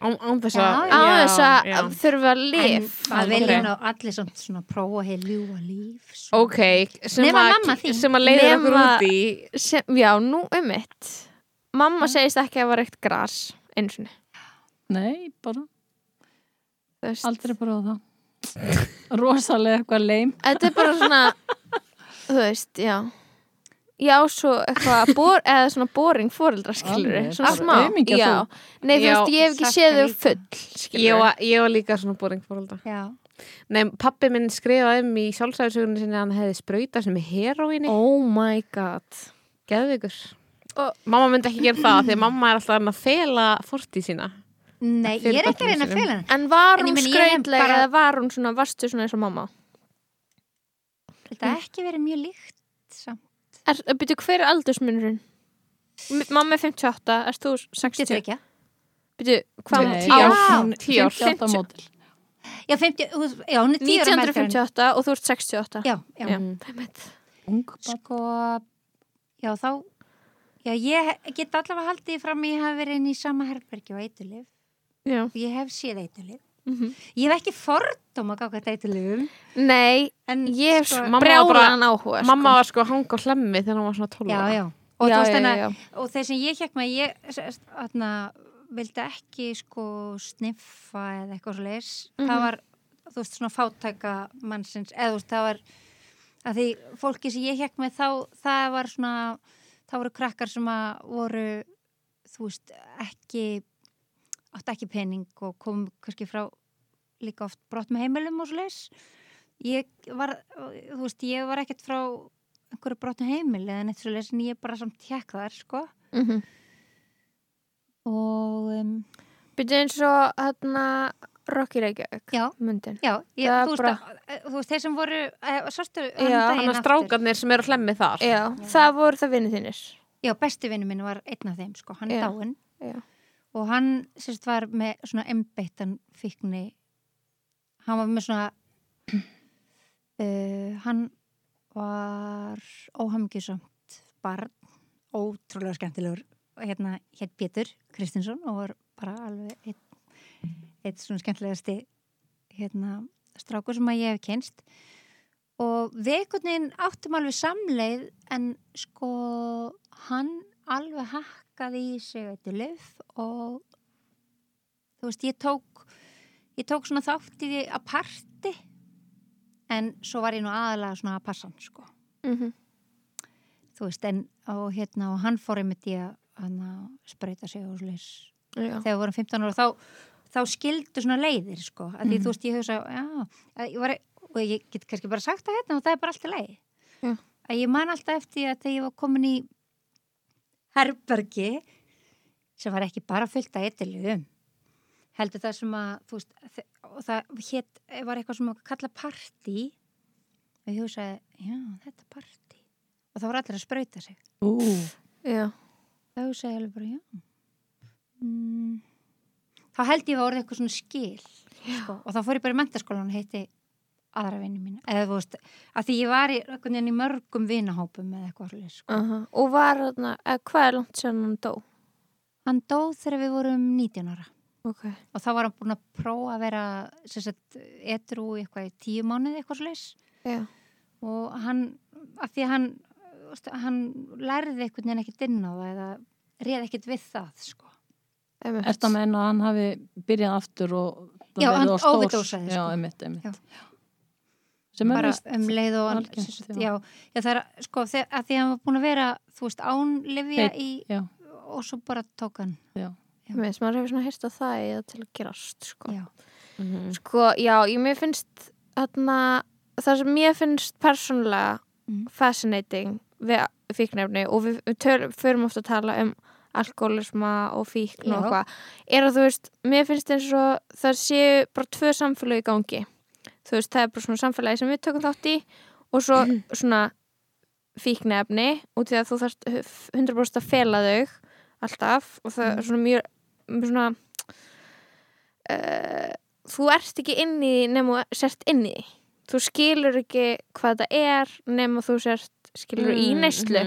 án án þess
Já,
að
á þess að
já.
þurfa
en
lif
það
ok.
vilja nú allir samt svona prófa að ljúa líf svona.
Ok, sem
Nema
að-
mamma þín.
sem að leiðir okkur
Nema-
út í
sem, já, nú um mitt mamma segist ekki að það var eitt gras eins og
Nei, bara
niður
aldrei bara það Rosalega eitthvað leim
þetta er bara svona þú veist, já já, svo eitthvað bor, eða svona boring foreldra skilur
Alveg,
svona
bara
smá,
aumingja
já
þú.
nei, þú
Já,
veist, ég hef ekki
sakna
séð þau
líka.
full
Ég
skilur,
var, ég var líka svona boring fórölda
Já,
Nei, pappi minn skrifaði um í sjálfsæðisögunni sinni að hann hefði sprautað sem heroinni oh.
oh my god
Geðvigur
Og-
Mamma myndi ekki gera það því að mamma er alltaf að fela fortíð sína
nei,
Fyrir
ég er ekki að reyna
börnum
að fela hann
en var
En ég
hún
meina, ég hef
skrautlega
bara-
eða var hún svona, varstu svona eins og mamma
Þetta er ekki verið mjög líkt samt
er, byrju, hver er aldursmunurinn? M- mamma er 58, erst þú 60
ekki
byrju, hvað
Nei,
ár?
já.
hún-
tíu ár.
58 mótil
Já, 50, þú- já, hún er 10 ára meldri en
1958 og þú ert 68
Já, já,
Já. Einmitt.
Mm. Ung barn.
sko Já, þá Já, ég get allavega haldið því fram að ég hafi verið inn í sama herbergi og eitulif
Já.
og ég hef séð eitulif
Mhm.
Ég hef ekki fordóma gagvart eitulifum
Nei,
en
ég hef
sko,
sko,
mamma var
brjálan áhuga sko.
Mamma var sko að hanga á hlemmi þegar hann var svona 12
Já,
ára.
já Og, já,
já,
já,
já,
hana,
já.
og þeir sem ég hjekk með ég atna, vildi ekki sko sniffa eða eitthvað svo leis það var þú veist svona fátæka mannsins eða þú veist það var að því fólki sem ég hjekk með þá það var svona þá voru krakkar sem að voru þú veist ekki átt ekki pening og kom kannski frá líka oft brott með heimilum og svo leis ég var þú veist ég var ekkert frá einhverju brotnu heimil eða neitt svo lesin ég bara samt tjekk þar sko
Mm -hmm.
og um,
Byrju eins og hérna Rocky Reykjavík
Já.
myndin
já, ég,
Það er
þú, veist,
bara-
að, að- þú veist þeir sem voru að, sástu hann
Já,
daginn
Hann var
aftur.
strákarnir sem eru á hlemmi þar
Já, það voru það vinnir þínir
já, bestu vinnu minn var einn af þeim sko, hann
Já,
er dáinn
já.
og hann sérst var með svona embeittan fíkni hann var með svona uh, hann var óhamgjusamt barn, ótrúlega skemmtilegur og hérna hétt Pétur Kristinsson og var bara alveg eitt, eitt svona skemmtilegasti hérna strákur sem að ég hef kynst og við einhvern veginn áttum alveg samleið en sko hann alveg hakkaði í sig eitthvað löf og þú veist ég tók ég tók svona þátt í því að parti en svo var ég nú aðalega svona að passa hann sko
mm -hmm.
þú veist en og hérna og hann fór einmitt í að hann að spreyta sig og slis þegar við vorum 15 ára þá, þá skildu svona leiðir sko að því þú veist ég hugsa já, að ég var, og ég get kannski bara sagt það hérna og það er bara alltaf leið
Já.
að ég man alltaf eftir því að þegar ég var komin í herbergi sem var ekki bara fullt að eitthilum heldur það sem að þú veist þe- og það hét, var eitthvað sem að kalla partí og ég hugsaði já þetta er partí og það voru allir að sprauta sig
Ú,
Já.
þá segja alveg bara já mm. þá held ég að orðið eitthvað svona skil sko. og þá fór ég bara í mentaskólan og heitti aðra vinni mín eða þú veist, að því ég var í, einhvern veginn í mörgum vinahópum eða eitthvað alveg sko.
Uh og var hérna, eh, hvað er langt sem hann dó?
hann dóð þegar við vorum 19 ára
Ok,
og þá var hann búin að prófa að vera sem sagt, etru í eitthvað í tíu mánuði eitthvað slags
já,
og hann, að því að hann þú veist, hann lærði einhvern veginn ekkert inn á það eða réð ekkert við það sko.
einmitt
ertu að meina að hann hafi byrjað aftur og þetta
Já,
verið
hann
of stórt.
overdosaði, sko.
Já, einmitt, einmitt.
Já.
Já. Sem er
bara
vist
um leið og hann
algengt,
sem sagt,
já.
já. Já, það er að- sko þe- að því að hann var búin að vera þú veist ánlefja
Einn,
í
já.
og svo bara tók hann
Mér finnst maður hefur svona hýrt á það eða til að gerast sko.
já,
sko, já, ég mér finnst þarna, það sem mér finnst persónulega
Mhm.
fascinating við fíknefni og við, við töl, förum ofta að tala um alkoholisma og fíkn og
Já.
eitthvað er að þú veist, mér finnst eins og það séu bara tvö samfélagi í gangi þú veist, það er bara svona samfélagi sem við tökum þátt í og svo svona fíknefni út í að þú þarft 100% að fela þau alltaf og það er svona mjög svona uh, þú ert ekki inn í því nema þú sért inn í því. þú skilur ekki hvað þetta er nema þú sért skilur í neyslu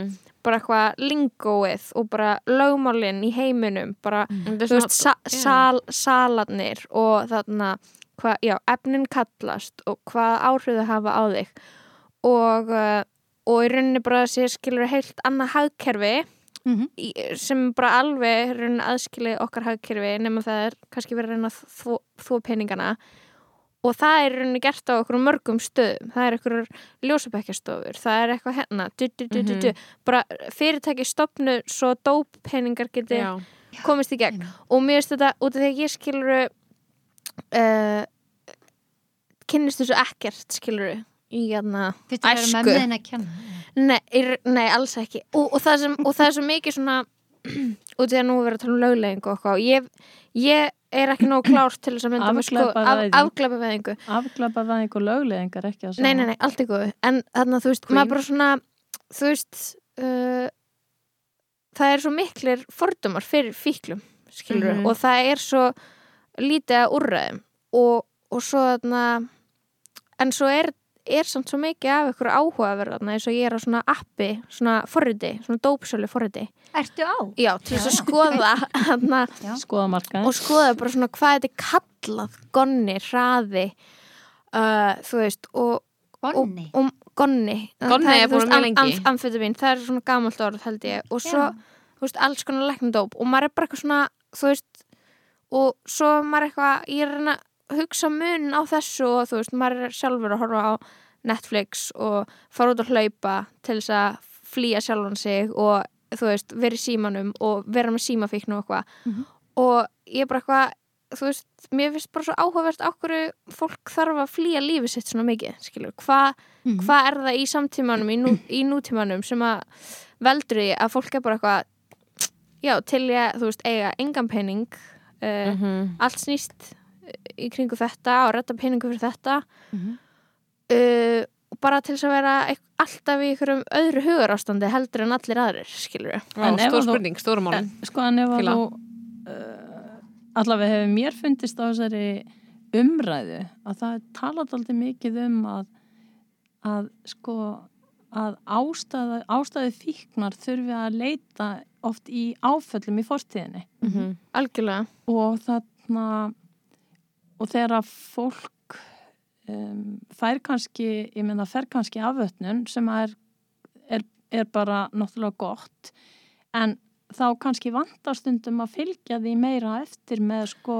bara eitthvað lingóið og bara lögmálin í heiminum bara
Þú
þú veist,
veist,
sa sal, salarnir og þarna hva, já, efnin kallast og hvað áhrifu hafa á þig og, uh, og í rauninni bara sé skilur heilt annað hagkerfi
Mhm.
í, sem bara alveg í rauninni aðskilið okkar hagkerfi nema það er kannski verið að reyna að þvo, þvo peningana og það er í rauninni gert á okkur mörgum stöðum það er okkur ljósabekkjastofur það er eitthvað hérna du, du, du, du, du. bara fyrirtæki stopnu svo dóppeningar geti
já.
komist í gegn
Einmitt.
og mér finnst þetta út af því að ég skilur uh, kynnist þessu ekkert skilur í hérna
fyrst að vera
Æsku.
með meðin að kenna
nei, er, nei, alls ekki og, og, það sem, og það er svo mikið svona út af því að nú er verið að tala um löglegingu og eitthvað og ég, ég er ekki nóg klárt til þess að mynda með sko af,
Afglæpavæðing.
afglapa veðingu
afglapað það einhver lögleðingar ekki að
nei, nei, nei, allt ykkur en þarna þú veist,
Queen.
maður bara svona þú veist uh, það er svo miklir fordumar fyrir fíklum skilur
Mhm.
og það er svo lítið að úrraðum og, og svo þarna en svo er, er samt svo mikið af ykkur áhugaverð þarna eins og ég er á svona appi, svona forriti svona dópsölu forriti
Ertu á?
já, til þess
Já,
að
já.
skoða þarna
Skoða markaðin.
og skoða bara svona hvað þetta er kallað gonni, hraði uh, þú veist og,
Onni?
og Um, gonni
Gonni
Það
er búin
þú veist,
mjög lengi.
amf- amfetamín, það er svona gamalt orð held ég og svo, þú veist, alls konar læknadóp og maður er bara eitthvað svona, þú veist og svo er maður eitthvað ég er að reyna að hugsa mun á þessu og þú veist, maður er sjálfur að horfa á Netflix og fara út að hlaupa til þess að flýja sjálfan sig og þú veist, vera í símanum og vera með símafíknu og eitthvað
Mhm.
og ég er bara eitthvað þú veist, mér finnst bara svo áhugavert á hverju fólk þarf að flýja lífið sitt svona mikið, skilur, hvað
Mhm.
hvað er það í samtímanum, í, nú, í nútímanum sem að veldur því að fólk er bara eitthvað já, til ég, þú veist, eiga engan pening uh, allt snýst uh, í kringu þetta og redda peningu fyrir þetta
Mhm.
uh, og bara til þess að vera eit- alltaf í einhverjum öðru hugarástandi heldur en allir aðrir, skilur við
Já,
En ef
Stór
þú-
spurning, stóra málin
Sko en ef að
Fíla.
þú uh, allavega hefur mér fundist á þessari umræðu að það er talað aldrei mikið um að, að sko að ástæðu, ástæðu fíknar þurfi að leita oft í áföllum í fortíðinni
Mhm.
algjörlega,
og þarna og þegar að fólk um, fær kannski ég meina fær kannski afvötnun sem að er, er, er bara náttúrulega gott en þá kannski vantar stundum að fylgja því meira eftir með sko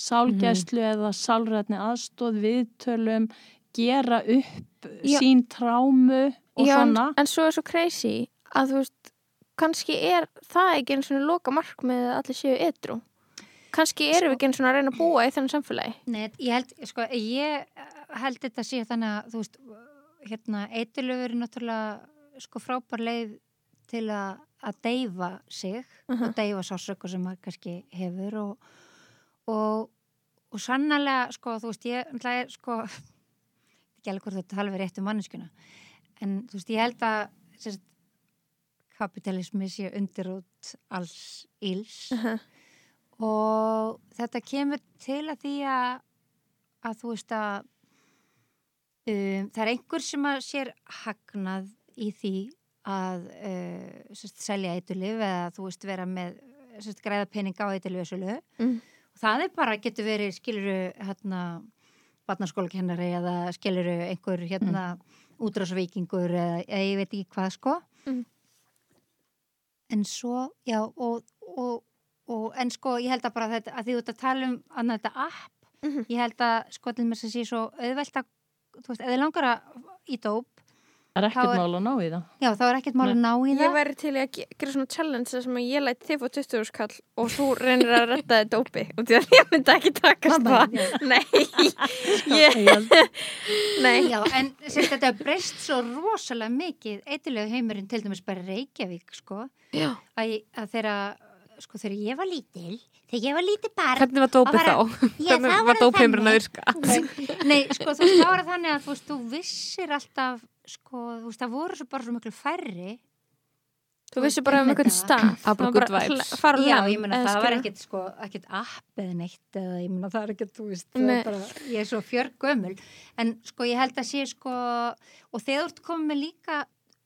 sálgæslu eða sálrætni aðstóð viðtölum gera upp
Já.
sín trámu og
já, en,
svona
en svo er svo crazy að þú veist, kannski er það ekki eins og loka markmið að allir séu ytrú kannski erum við ekki eins og að reyna að búa í þennan samfélagi
Nei, ég held, sko, ég held þetta sé þannig að, þú veist, hérna, eitilöfur er náttúrulega sko frábær leið til að, að deyfa sig og deyfa sásöku sem maður kannski hefur og, og, og sannlega, sko, þú veist, ég, náttúrulega, er, sko, ekki alveg hvort þú tala við rétt um manneskuna, en, þú veist, ég held að, sérst, kapitalismi sé undirút alls íls og þetta kemur til að því að, að þú veist að um, það er einhver sem að sér hagnað í því að uh, sérst, selja eitulif eða þú veist vera með sérst, græða peninga á eitulifisölu
Mm.
og það er bara, getur verið skiluru hérna barnaskólakennari eða skiluru einhver hérna útrásvíkingur eða, eða ég veit ekki hvað sko
Mm.
en svo, já og, og, og en sko ég held að bara þetta, að því þú ert að tala um annað þetta app
Mhm.
ég held að sko til mér sem sé svo auðvelt að, þú veist, ef þið langar að í dóp,
Það er
Þá
ekkert
er-
mál að ná í það.
já þá er ekkert mál að ná í
Ég
það
væri til í að ge- gera svona challenge þar sem að ég læt þið fór 20 skall og þú reynir að retta þið dópi og því að ég myndi ekki takast það Nei ég,
Ég,
Nei,
Já, en sem sagt, þetta breyst svo rosalega mikið, eitthvað heimurinn til dæmis bara Reykjavík, sko
Já.
að, ég- að þeirra, sko þegar ég var lítil þegar ég var lítil barn
Hvernig var dópið
Og
þá?
bara- Ég,
Hvernig
það
var
það
dópið heimurinn að
þannig.
virka?
Nei, sko þú veist, þá var það þannig að þú veist, þú vissir alltaf, sko, þú veist, það voru svo bara svo miklu færri.
þú vissir bara um einhvern stað
Það er bara good vibes.
Fara
Já, ég meina, það var ekkit, sko, ekkit app eða neitt, eða ég meina, það er ekkit, þú veist, það
Nei.
er bara, ég er svo fjörgömmul. En, sko, ég held að sé, sko, og þegar þú ert komið með líka,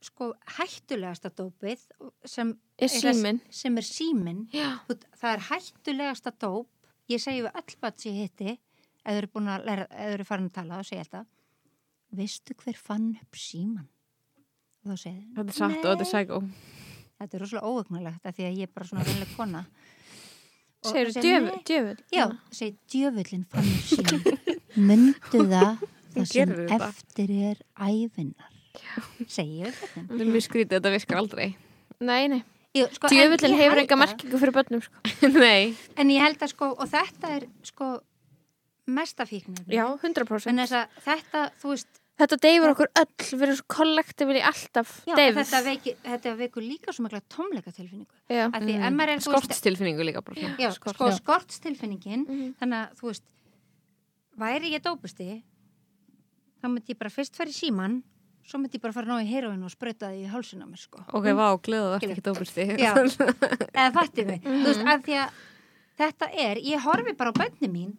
sko, hættulegasta dópið sem
Í síminn.
sem er símin.
Já,
Það er hættulegasta dóp, ég segi við öll bat sem ég hitti, ef þau eru búin að læra, ef þau eru farin að tala, þá segi ég alltaf, veistu hver fann upp síman? Og þá segi þau,
Þetta er satt og þetta er sækó.
þetta er rosalega óögnulegt af því að ég er bara svona reynileg kona Og
segir
það segir,
djöfull
"Nei."
djöfull.
já, segir djöfullin fann upp síman myndu það það sem
gerði þetta.
eftir er ævinnar segir djöfullin
Þetta er mjög skrítið, þetta virkar aldrei.
Nei, nei,
Jú, sko, en
djöfullin
ég
hefur
held
enga
að-
merkingu fyrir börnum sko.
Nei.
en ég held að sko, og þetta er sko mesta fíknir
Já, 100%
þetta, þú veist
Þetta deyfur okkur öll, við erum svo kollektivili alltaf
já,
deyf
þetta, veiki, þetta veikur líka svo mikla tómleika tilfinningu
Já.
að því ef maður er þú veist,
Skortstilfinningu líka bara. svona.
já,
skort,
sko,
já.
skortstilfinningin
Mhm.
þannig að þú veist væri ég dópusti þá myndi ég bara fyrst fara í síman svo myndi ég bara fara að ná í heroin og sprauta það í hálsina á mér sko
Ok, vá, gleðu það ekki dópusti.
Já. eða fætti mig, þú
Mhm.
veist, af því að þetta er, ég horfi bara á bönni mín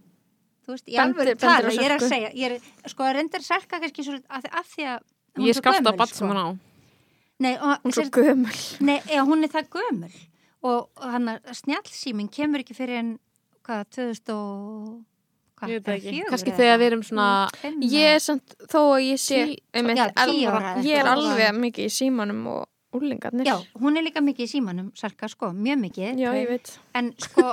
þú veist, ég
Bendir-
alveg
bendir á
tala ég er að
Sölku.
segja, ég er, sko, reyndar sarka kannski svo, af því- af því að hún er
Ég
svo
skapta
gömul, sko.
að batt sem hann á.
Nei, og,
Hún er svo
sér-
gömul
Nei, eða hún er það gömul og, og hann að snjálfsýminn kemur ekki fyrir en hvað, 2000 og hvað,
Kanski þegar við erum svona,
Ég er samt, þó að ég sé
Tí-
einmitt,
Já, tíu
eldra-
ára eða
Ég er
eitthvað.
alveg mikið í símanum og úlingarnir
Já, hún er líka mikið í símanum, Sarka, sko, mjög mikið
Já, ég veit
En sko,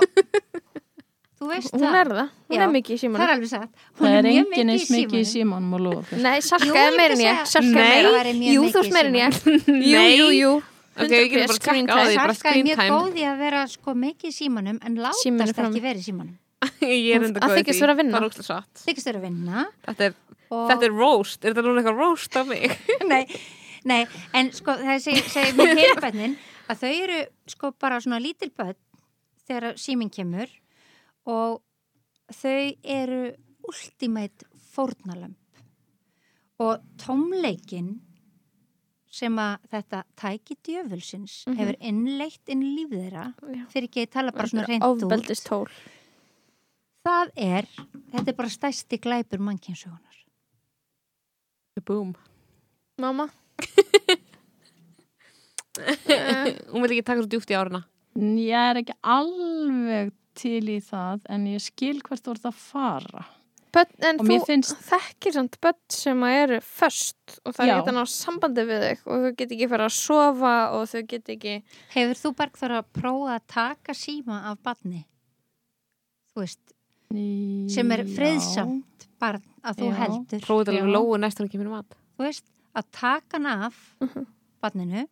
þú veist
Hún er það, hún
Já.
er mikið í
það
símanum
er alveg satt Hún
það er
mjög
enginn eins mikið í símanum og lofa.
Nei,
Jú,
salka
ég
er meira en
myndi
ég
segja-
Salka
Nei.
er
Væri
meira
mjög
Jú,
mikið
þú
í
ert meira en ég Jú,
Nei.
jú, jú
Ok, við getum
100%
bara
screen
trackað á því, bara
time.
Sarka er
screen
mjög
time.
góð í að vera sko mikið í símanum en látast
Síminn er frammi.
ekki verið í símanum
ég er enda
Að
góð í
þykjast
því.
vera að vinna.
Það er ógst satt.
Þykist þér að vinna
Þetta er,
og...
þetta er roast. Er þetta núna eitthvað roast af mig?
nei, nei, en sko það segir seg, mér heilbönnin að þau eru sko bara svona lítil bönn þegar síminn kemur og þau eru ultimate fórnalamb og tómleikin sem að þetta tæki djöfulsins hefur innleitt inn í líf þeirra
Já.
fyrir ekki að ég tala bara svona reynd út
Ofbeldist tól
það er, þetta er bara stæsti glæpur mannkynsögunar
Boom.
Mamma
Hún vil ekki taka svo djúpt í árina.
Ég er ekki alveg til í það en ég skil hvert þú ert að fara.
Börn, en
Og mér
þú
finnst-
þekkir samt börn sem að eru föst og það
Já.
er ekki að ná sambandi við þig og þau get ekki fara að sofa og þau get ekki
Hefur þú Bergþóra prófað að taka síma af barni? Þú veist,
Í-
sem er
já.
friðsamt barn að þú
Já.
heldur.
Prófið þetta alveg
Já.
lóu næst hann kemur í mat.
Þú veist, að taka hann af
Mhm.
barninu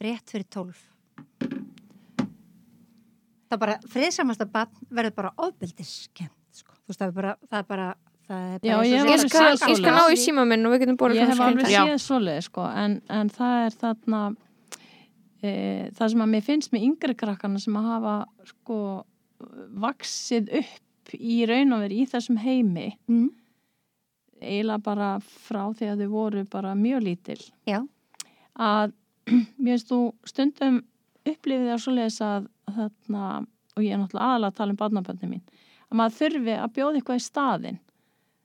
rétt fyrir tólf. Það bara, friðsamasta barn verður bara ofbeldiskennt, sko. Þú veist, það er bara, það er bara, það er bara
Já,
eins og
ég
sé-
var
Ég
alveg
skal,
séð
ég skal
svoleiðis.
ná í síma minn og við getum borðið
Ég hef alveg
Já.
séð svoleið sko en, en það er þarna e, það sem að mér finnst með yngri krakkana sem að hafa sko vaksið upp í raun og verið í þessum heimi
Mm.
eiginlega bara frá því að þau voru bara mjög lítil
Já.
að mér finnst þú stundum upplifið það svoleiðis að þarna, og ég er náttúrulega aðalega að tala um barnaböndin mín, að maður þurfi að bjóða eitthvað í staðinn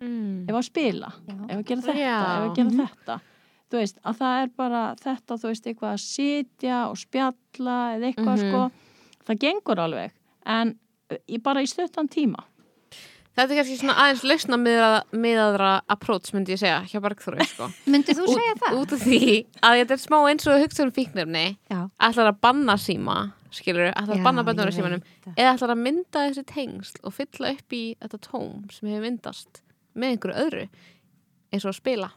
Mm.
ef að spila,
Já.
ef að gera þetta,
Já. Mhm.
ef að gera þetta. Þú veist, að það er bara þetta, þú veist, eitthvað að sitja og spjalla eða eitthvað
Mhm.
sko. Það gengur alveg, en ég bara í stuttan tíma.
Þetta er kannski svona aðeins lausna miðaðra approach myndi ég segja hjá Bergþóru sko.
Myndir þú
Út-
segja það?
Út af því að þetta er smá eins og hugsa um fíknirni
Já.
ætlar að banna síma skilur, ætlar
Já,
að banna bönnur á
ég veit
símanum
það.
eða ætlar að mynda þessi tengsl og fylla upp í þetta tóm sem hefur myndast með einhverju öðru eins og að spila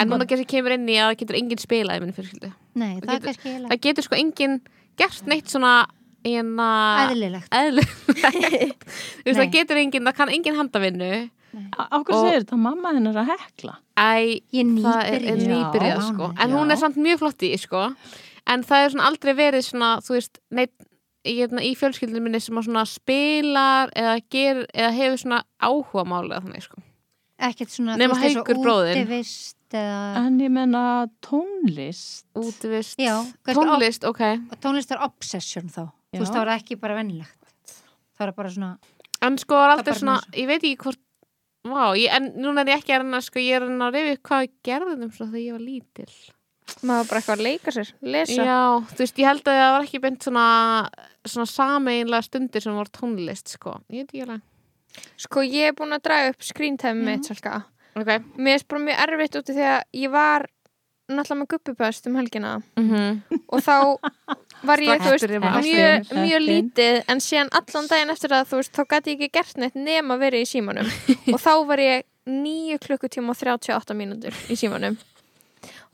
en núna kannski kemur inn í að það getur enginn spilað í minni fjölskyldu
Nei, það er
getur-
kannski heila
það getur sko enginn gert neitt svona eina
eðlilegt
eðlilegt Þú veist, það
Nei.
getur enginn, það kann enginn handavinnu
Ákveð
Og-
segir þetta, mamma þinn er að hekla.
æ,
Ég
það er,
nýbyrja
er
Já.
nýbyrjað sko. en
Já.
hún er samt mjög flott í sko. en það er svona aldrei verið svona, þú veist, neitt í, hérna, í fjölskyldinu minni sem að svona spilar eða, ger, eða hefur svona áhuga málega þannig sko.
Ekkert svona
Nema Haukur bróðir.
útivist eða
En ég menna tónlist.
útvist,
Já, kannski
tónlist, ok
tónlistar obsession þá
Já.
Þú veist, það var ekki bara vennilegt Það var bara svona
en sko var
Það er
aldrei
bara
svona,
eins
ég veit ekki hvort Vá, ég, en núna er ég ekki að reyna sko, ég er að reyna að reyfi hvað við gerðum svona þegar ég var lítil
maður bara eitthvað að leika sér, lesa
Já, þú veist, ég held að það var ekki beint svona, svona sameinlega stundir sem var tónlist, sko Ég veit ekki alveg
sko ég er búin að draga upp screentime
Mhm.
mitt svolga.
Ok,
mér er bara mjög erfitt úti þegar ég var náttúrulega með guppupöst um helgina
mhm
og þá var ég, þú
Strax
veist,
byrjum að
mjög,
elta.
mjög lítið en síðan allan daginn eftir það, þú veist, þá gæti ég ekki gert neitt nema verið í símanum og þá var ég 9 klukkutíma og 38 mínútur í símanum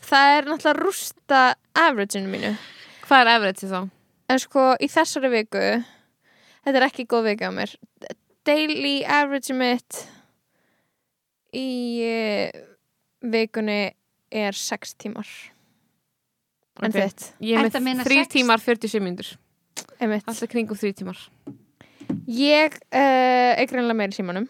það er náttúrulega rústa averageinu mínu
Hvað er average þá?
en sko í þessari viku þetta er ekki góð vika á mér daily average mitt í eh, vikunni er 6 tímar en
Ok.
þitt,
Ég
Ertu
er
að meina
með 3
sex?
tímar 47 minnur
einmitt
Alltaf kringum 3 tímar
Ég uh, er greinlega meira í símanum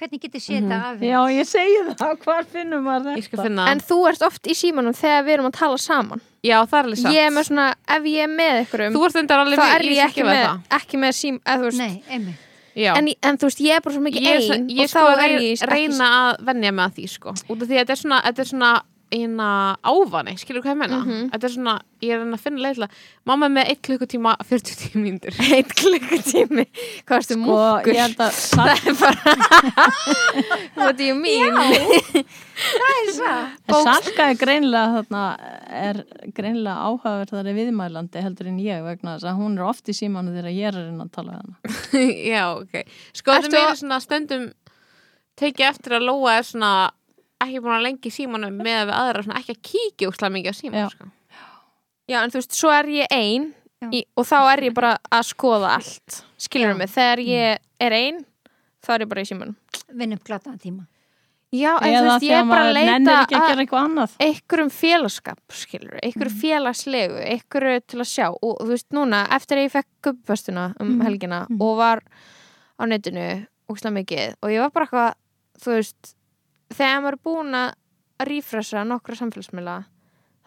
Hvernig getið séð þetta af
Já, ég segi það, hvar finnum maður þetta?
Ég skal finna
En þú ert oft í símanum þegar við erum að tala saman
Já, það er alveg satt
Ég er með svona, ef ég er með ykkur um
Þú ert enda alveg
Þá
við-
er
ég
ég
skal
ekki
gefa
með,
það.
ekki með sím eða, þú veist,
Nei, einmitt
Já
en, en þú veist, ég er bara svo mikið
Ég er svo-
ein
Ég
Og
sko
þá er
reyna,
ég ekki-
reyna að venja með því, sko Út af því að þetta er svona, þetta er svona eina ávani, skilur hvað ég menna
Mhm.
Þetta er svona, ég er að reyna að finna leiðilega Mamma er með 1 klukkutíma 40 minnur
Eitt klukkutími Hvað erstu sko,
Og
múkkur?
ég held að samt
Það er bara What do you mean?
En Salka er greinlega, þarna, er greinlega áhugaverðari viðmælandi heldur en ég vegna þess að hún er oft í símanu þegar ég er að reyna að tala við hana.
Já, ok. Sko, þetta
Ertu
er meira
að-
svona stundum tekið eftir að Lóa er svona ekki búin að lengi í símanum með við aðra svona ekki að kíkja úrslega mikið á
Já.
síman, sko.
Já, en þú veist, svo er ég ein
Já.
í, Og þá er ég bara að skoða allt Skilur mig, þegar ég er ein Þá er ég bara í símanum
vinn upp glataðan tíma
Já, en þú
Eða
veist, ég
þegar
er bara að
maður
leita
nennir ekki að
að-
gera eitthvað annað.
einhverjum félagskap, skilur einhverjum félagslegu, einhverju til að sjá og þú veist núna, eftir að ég fekk gubbastuna um helgina og var á netinu, úkslega mikið og ég var bara eitthvað, þú veist þegar maður er búin að rífresa nokkra samfélagsmiðla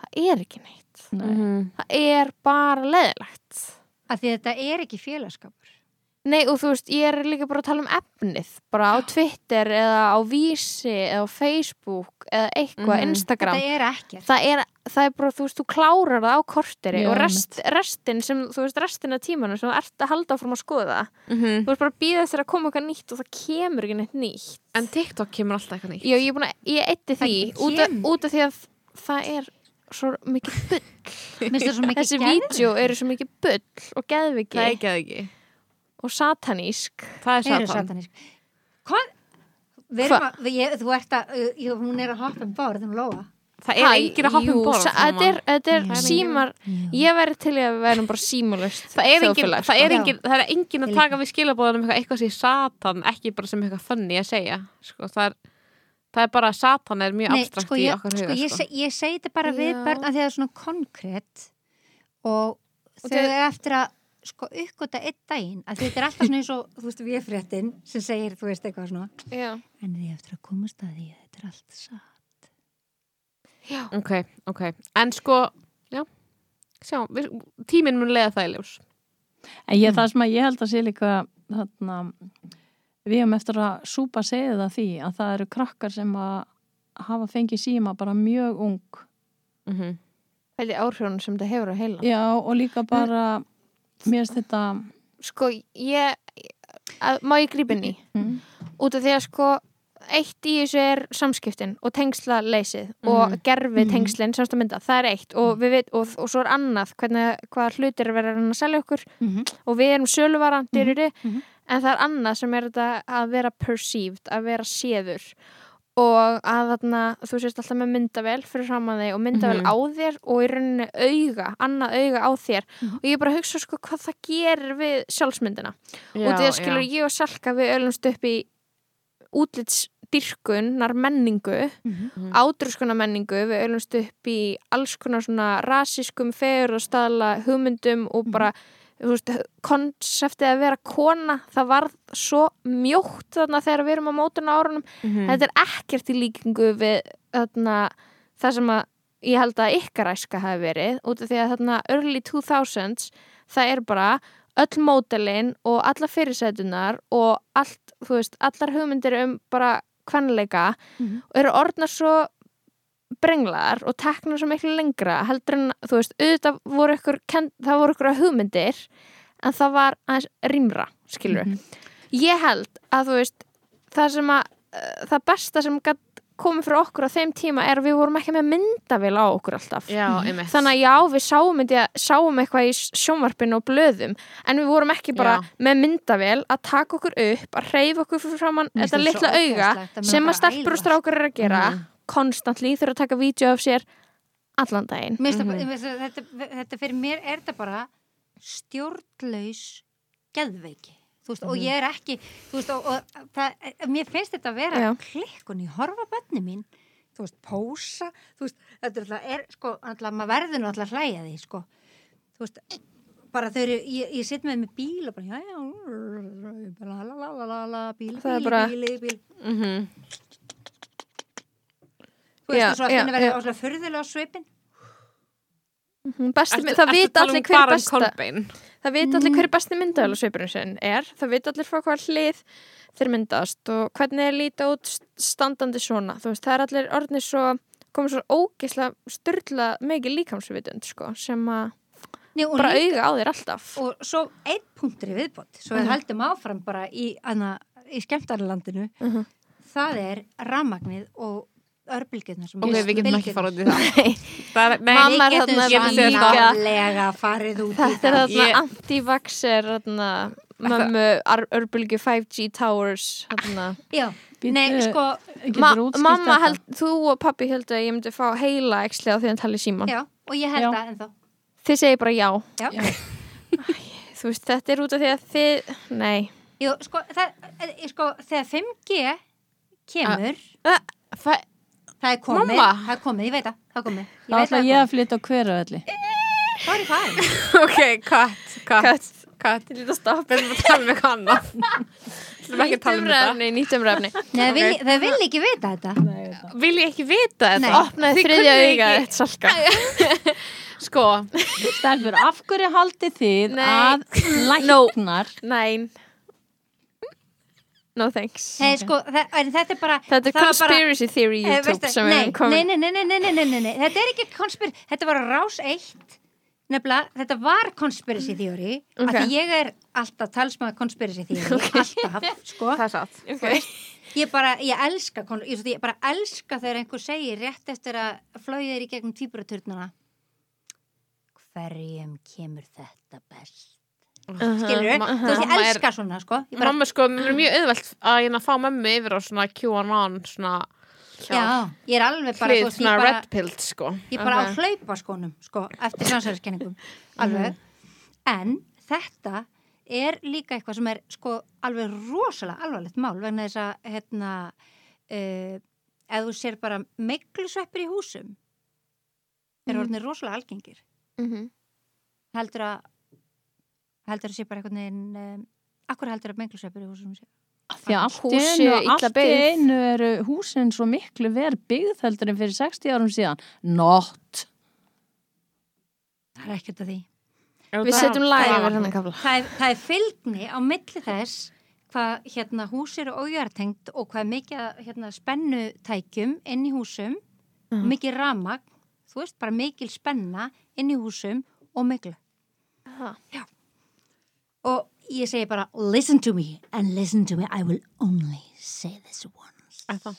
það er ekki neitt,
Nei.
Mhm.
það er bara leðilegt
af því þetta er ekki félagskapur
Nei og þú veist, ég er líka bara að tala um efnið, bara á Twitter eða á Vísi eða á Facebook eða eitthvað,
Mhm.
Instagram
þetta er ekkert
það er, það er bara, þú veist, þú klárar það á korteri
Já,
og rest, restin sem, þú veist, restin af tímanum sem þú ert að halda áfram að skoða
-hmm.
þú veist bara að býða þess að koma eitthvað nýtt og það kemur ekki neitt nýtt
En TikTok kemur alltaf eitthvað nýtt.
Já, ég er búin að, ég eitti því
Það
út af,
kemur.
út af því að það er svo mikið bull,
Minnst það svo mikið
þessi
geðveikt.
vídeo eru svo mikið bull og
Það er
geðviki
ekki að ekki.
og satanísk
Það er
Þeir eru
satan.
satanísk Hvað? Við erum að, ég, þú ert að, ég, hún er að hoppa um borð um Lóa
Það er engin að hoppa um borð.
sa- þetta er, þetta er
Já.
símar ég verði til í að við erum bara símulust
Það er, engin,
þjóðfélag,
það, er
sko.
engin, það er engin að
Ég
taka við skilabóðanum eitthvað, eitthvað sem satan, ekki bara sem eitthvað funny að segja. Sko, það, er, það er bara að satan er mjög abstrakt
sko,
í
ég,
okkar
sko,
huga.
ég,
Sko.
seg- ég segi þetta bara við
Já.
börn að því að það er svona konkrétt og, þau
þau-
eru eftir að sko uppgöta einn daginn að þetta er alltaf svona eins og, þú veist, véfréttin sem segir, þú veist, eitthvað svona
Já.
en þið eftir að komast að því að þetta er allt satt
Ok, ok. En sko, já, sjá, við, tíminn mun leiða það í ljós.
En
Mm.
ég, það sem að ég held að sé líka, þarna, við hefum eftir að súpa segja það því að það eru krakkar sem að hafa fengið síma bara mjög ung.
Mm
Pældi í áhrifunum sem þetta hefur á heila
Já, og líka bara, Mm. mér finnst þetta,
sko, ég að, má ég grípa inn í
Mm.
út af því að sko eitt í þessu er samskiptin og tengslaleysið og gerfi tengslinn semst að mynda, það er eitt og, við veit, og, og svo er annað hvernig, hvaða hlutir er verið að reyna að selja okkur
Mhm.
og við erum söluvarandir mm
mhm.
en það er annað sem er þetta að vera perceived, að vera séður og að þarna þú sést alltaf með myndavel fyrir saman þig og myndavel
Mhm.
á þér og í rauninni auga, annað auga á þér
Mhm.
og ég er bara að hugsa sko hvað það gerir við sjálfsmyndina
Já,
og það skilur
já.
ég og Salka við ölumst upp í útlitsdyrkunar menningu
Mhm.
átrúskunar menningu, við ölumst upp í alls konar svona rasískum fegur og staðla hugmyndum og bara þú veist, konseptið að vera kona, það varð svo mjótt þarna þegar við erum á mótuna árunum
Mhm.
þetta er ekkert í líkingu við þarna, það sem að ég held að ykkar æska hafi verið út af því að þarna early 2000s það er bara öll mótelin og alla fyrirsætunar og allt, þú veist, allar hugmyndir um bara kvenleika
Mhm.
eru orðnar svo brenglar og teknar svo miklu lengra heldur en, þú veist, auðvitað voru ykkur, kennd, það voru ykkur hugmyndir en það var aðeins rýmra skilur
Mhm.
ég held að þú veist það sem að eh, það besta sem gat komið fyrir okkur á þeim tíma er að við vorum ekki með myndavél á okkur alltaf
Já, einmitt.
þannig að já, við sáum, þetta, sáum eitthvað í sjónvarpinu og blöðum en við vorum ekki bara
Já.
með myndavél að taka okkur upp, að reyfa okkur fyrir framann
Mér
þetta
finnst
litla
svo
auga
ógeðslegt að
sem
maður
að stelpur
bara
og strákur eru að gera mm
Mhm.
konstantli þurfa að taka vídeo af sér allan daginn
Mér finnst það- mér finnst það- þetta, þetta fyrir mér er þetta bara stjórnlaus geðveiki Þú veist, og
Mhm.
ég er ekki þú veist, og, og það, mér finnst þetta að vera
Já.
klikkun í horfa bönni mín þú veist, pósa þú veist, þetta er alltaf, er, sko, alltaf maður verður nú alltaf að hlæja því sko. þú veist, bara þau eru ég, ég sitt með með bíl og bara já, já, la, la, la, la, la, la, bíl,
Það er
bíl,
bara-
bíl, bíl
Mhm.
þú veist,
Já,
og svo að
já, já.
finna verður áslega furðulega á svipin
Mhm, besti,
Ertu-
mm, það
ertu
vita
að tala
allir
um
hver er
bara um
besta
Kolbein?
Það veit allir hver besti myndavélasveipurinn sinn er, það veit allir frá hvað hlið þeir myndast og hvernig þeir líta út st- standandi svona. Þú veist, það er allir orðnir svo, komið svo ógisla, styrla mikið líkamsvitund, sko, sem að
Nei, og
bara
líka-
auga á þér alltaf.
og svo einn punktri viðbót svo við heldum áfram bara í, anna, í skemmtarlandinu
Mhm.
það er ramagnið og örbylgjurnar sem
Ok, við getum ekki fara út í það.
Nei.
það er, nei,
Mamma-
Mamma
Mamma
við
er
getum
þarna
líka-
sannarlega farið út í
Þetta er
það
þarna
Ég-
anti-vaxer, þarna, mömmu, ar- örbylgju 5G towers, þarna.
Já,
Bíddu,
nei, sko,
geturðu
Ma
útskýrt
mamma,
þetta?
held, þú og pappi heldur að ég myndi fá heila eksli á því að tala í síman.
já, og ég held
Já.
það ennþá
Þið segir bara já.
Já.
Já.
Þú veist, þetta er út af því að þið, nei.
Jú, sko, það, eh, sko, þegar 5G kemur
Ah.
það,
það er komið,
Mamma.
það er komið, ég veit það það er komið,
Þá
ég veit
ætla
það
ég
er
að flytja á hverjavelli.
komið það er farið
ok, katt, katt, katt.
Ég lítið að stoppa.
Við erum að tala um eitthvað annað. Við erum ekki að tala um þetta.
umræfni, nýtt umræfni.
Nei, það vil- það vil ekki vita þetta
Vil ég ekki vita þetta?
Nei.
Opnaði
Þið
þriðja
kunnið
auga
ekki-
eitt salka.
Sko,
Stelfur, af hverju haldið þið
Nei.
að læknar
Nein.
Mm.
No thanks.
Nei, sko, það, en þetta er bara
Þetta er
það var bara-
conspiracy theory
Eh,
YouTube
veistu,
sem við
nei,
erum komin.
nei, nei, nei, nei, nei, nei, nei, nei, þetta er ekki konspir þetta var á rás eitt nefnilega, þetta var conspiracy theory okay.
Ok.
af því ég er alltaf talsmaður conspiracy theory, alltaf sko.
það er satt.
Ok.
ég bara, ég elska kon- ég, ég bara elska þegar einhver segir rétt eftir að flóið er í gegnum tvíburaturnuna hverjum kemur þetta best skilur
Ma-
þú veist, ég
mamma er-
elska svona, sko ég bara,
Mamma, sko, mér er mjög auðvelt að ég að fá mömmu yfir á svona QAnon, svona
já, ég er alveg bara,
hlið,
þú veist, ég
svona
bara
red pill, sko.
ég er bara
Ok.
á hlaupaskónum sko, eftir samsæðiskenningum alveg, en þetta er líka eitthvað sem er sko, alveg rosalega alvarlegt mál vegna þess að hérna, uh, ef þú sér bara meiklusveppir í húsum er orðinir rosalega algengir
Mhm.
heldur að heldur að sé bara einhvern veginn um, akkur heldur að meiklusveppir í húsum sé
því að allt í
Hús
einu,
séu illa
allt í
byggð.
einu eru húsin svo miklu verð byggð heldur en fyrir 60 árum síðan not
það er ekkert að því
Við setjum lag
það-
yfir hennar kafla.
það er, það er fylgni á milli þess hvað hérna, hús eru ójartengt og hvað er mikið af, hérna, spennutækjum inn í húsum
Mhm.
mikið ramagn, þú veist bara mikil spenna inn í húsum og miklu
Aha.
Já. og ég segi bara listen to me and listen to me I will only say this once
Eða.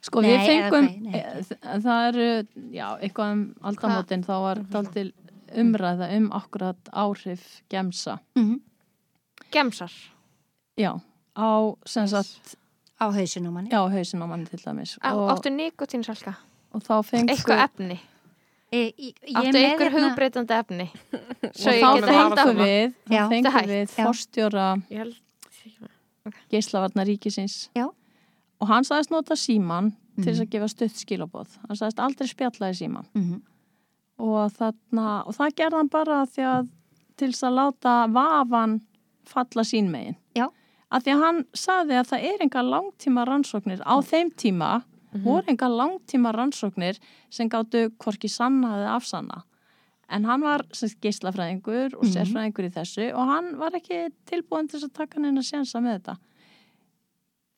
Sko
Nei,
við
eða
fengum,
hvað, nei, ekki.
eh, það eru, já, eitthvað um aldamótin þá var daldil umræða um akkurat áhrif gemsa.
Gemsar.
Já, á, sem sagt,
á hausinu á manni
já, hausin á manni til dæmis.
Á,
Og,
áttu nikotinsalka?
og þá fengum,
Eitthvað efni?
e, í, ég er
Áttu
Sko, með
einhver
hérna-
hugbreytandi efni? Svo
og
ég
þá
geti
fengum-
haldið áfram.
fengum við, þá
Já.
fengum
Þetta
við
Já.
forstjóra
Ég held.
geislavarna ríkisins.
Já.
Og hann sagðist nota síman til þess
Mhm.
að gefa stutt skilabóð. Hann sagðist aldrei spjallaði síman.
Mhm.
og, þarna, og það gerði hann bara af því að til þess að láta vafan falla sín megin.
Já.
Af því að hann saði að það er enga langtíma rannsóknir
Mhm.
á þeim tíma voru enga langtíma rannsóknir sem gáttu hvorki sanna eða afsanna. En hann var sem sagt, geislafræðingur og
Mhm.
sérfræðingur í þessu og hann var ekki tilbúin til þess að taka neina sjensa með þetta.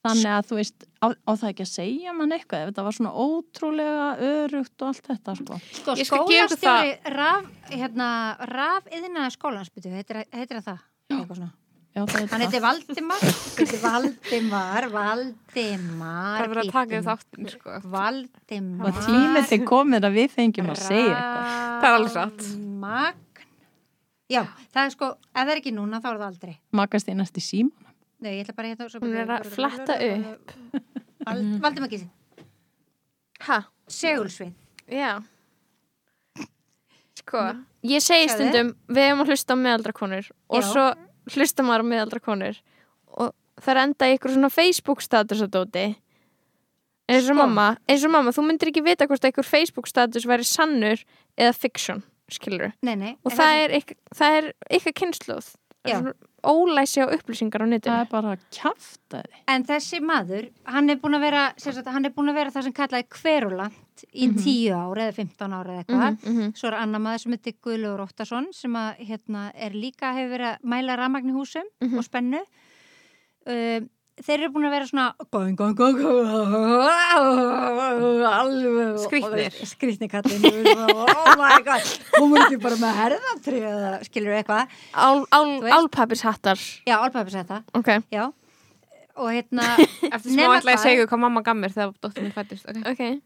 Þannig að þú veist, á, á það ekki að segja mann eitthvað ef þetta var svona ótrúlega örugt og allt þetta sko.
sko,
Ég skal gefa það.
skólastjóri raf, hérna, raf yðina skólans byrju, heitir, heitir hann það Eitthvað svona.
Já, það er
hann
það.
heitir Valdimar Bíddu, Valdimar, Valdimar
Það er verið að taka
bíddu.
við þáttin, sko.
Valdimar
Og tímið til komið að við fengjum að segja eitthvað.
Það
Það er alveg satt.
Magn Já, það er sko, ef það er ekki núna þá er það aldrei
Magast í næst í síma.
Nei, ég ætla bara hérna svo-
Hún er að flatta upp.
Val- Valdimar Gísi,
Hæ?
segulsvið
Já Sko, ég segi stundum við hefum að hlusta á meðaldrakonur og
Já.
svo hlusta maður á meðaldrakonur og það er enda í ykkur svona Facebook status að dóti eins og
Sko.
mamma, eins og mamma þú myndir ekki vita hvort einhver Facebook status væri sannur eða fiction, skilur
Nei, nei
og það er, yk, það er ykkar kynsluð
Já.
ólæsi á upplýsingar á
Það
netinu
er bara að kjafta þið.
En þessi maður, hann er búin að vera sem sagt, hann er búin að vera það sem kallaði kverulant í 10 ár eða 15 ár eða eitthvað
mhm.
Svo er annar maður sem heitir Guðlaugur Óttarsson sem að, hérna, er líka hefur verið að mæla rafmagn í húsum
Mhm.
og spennu um, Þeir eru búin að vera svona gong, gong, gong, alveg
Skrýtnir.
Skrýtnir kallin Oh my god, hún múið ekki bara með herðatrið skilur eitthvað
Ál, ál,
Þú veist.
Álpapishattar
Já, Olpapi sagði það,
okay.
já Og hérna,
Eftir smá
Nema
ætla ég
hvað?
að segja hvað mamma gaf mér þegar dóttir minn fættist. Okay.
Okay.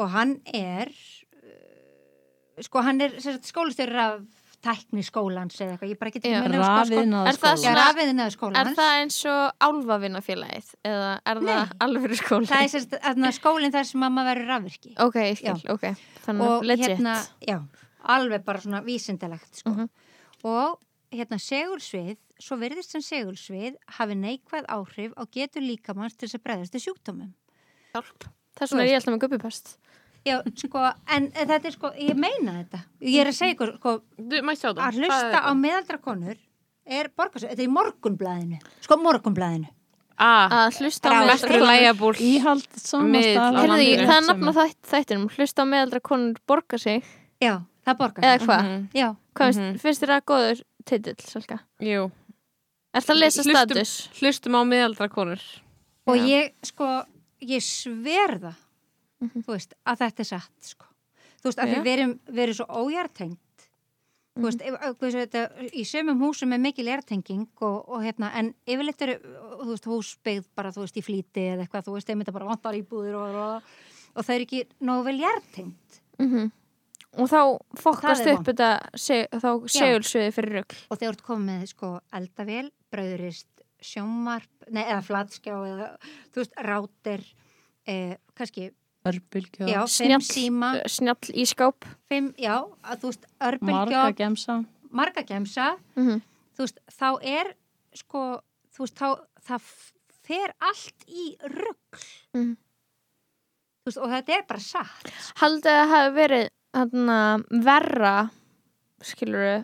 og hann er uh, sko hann er skólistjóri af tækni skólans eða eitthvað, ég bara get ekki
Já.
munað um
Rafið
skóla-
náður
sko, Er það
Já,
svona-
skóla.
rafiðina
Er
skólans
það eins og álfavinnafélagið eða er það
Nei.
alvöru skóli?
það er sérst, þarna, skólinn þar sem mamma verður rafvirki
Ok, ég skil, ok. Þannig
og
að legit.
hérna, já, alveg bara svona vísindilegt sko.
Mhm.
og hérna segulsvið svo virðist sem segulsvið hafi neikvæð áhrif á getur líkamanns til þess að bregðast til sjúkdómum
það er svona ég
veist.
held að með gubbipest.
já, sko, en þetta er sko ég meina þetta, ég er að segja ykkur sko,
Du, mætti á það.
að hlusta á meðaldrakonur er borgarsöð, þetta er í morgunblæðinu sko morgunblæðinu
Ah,
Að hlusta á
Rá,
meðaldra
Mestri
konur.
lægabúl.
Íhald
Miðl á
samast að
Herðu,
landinu.
það er nafn á þætt, þættinum. Hlusta á meðaldra konur borga sig.
já, það borgar
Eða hvað?
já,
Hvað
Mhm.
finnst, finnst þér að góður titill, Salka?
Jú.
Er það að lesa
Hlustum-
status?
Hlustum á miðaldrakonur.
og ég sko ég sverða þú veist, að þetta er satt sko. þú veist, að
Já.
við erum, við erum svo ójartengt þú veist, ef, ef- hvað sé þetta, í sömum húsum er mikil jartenging og, og hérna, en yfirleitt eru þú veist, hús byggð bara, þú veist, í flýti eða eitthvað, þú veist, þeim þetta bara vantar íbúðir og, og, og það er ekki nógu vel jartengt
Og þá fokkast
Það er
upp
vont.
þetta, seg, þá segulsviði fyrir rugg.
og þegar þú ert komið með sko eldavél, brauðurist, sjónvarp, nei eða flatskjá eða þú veist rátir, eh, kannski, já, eh,
örbylgjöð,
fimm síma,
Snjall í skáp.
fimm, já, að, þú veist,
marga
örbylgjóð,
gemsa.
marga gemsa,
Mhm.
þú veist, þá er sko, þú veist, þá, það f- fer allt í rugg.
Mhm.
Þú veist, og þetta er bara satt.
Haldið að það hafi verið hana, verra, skilur við,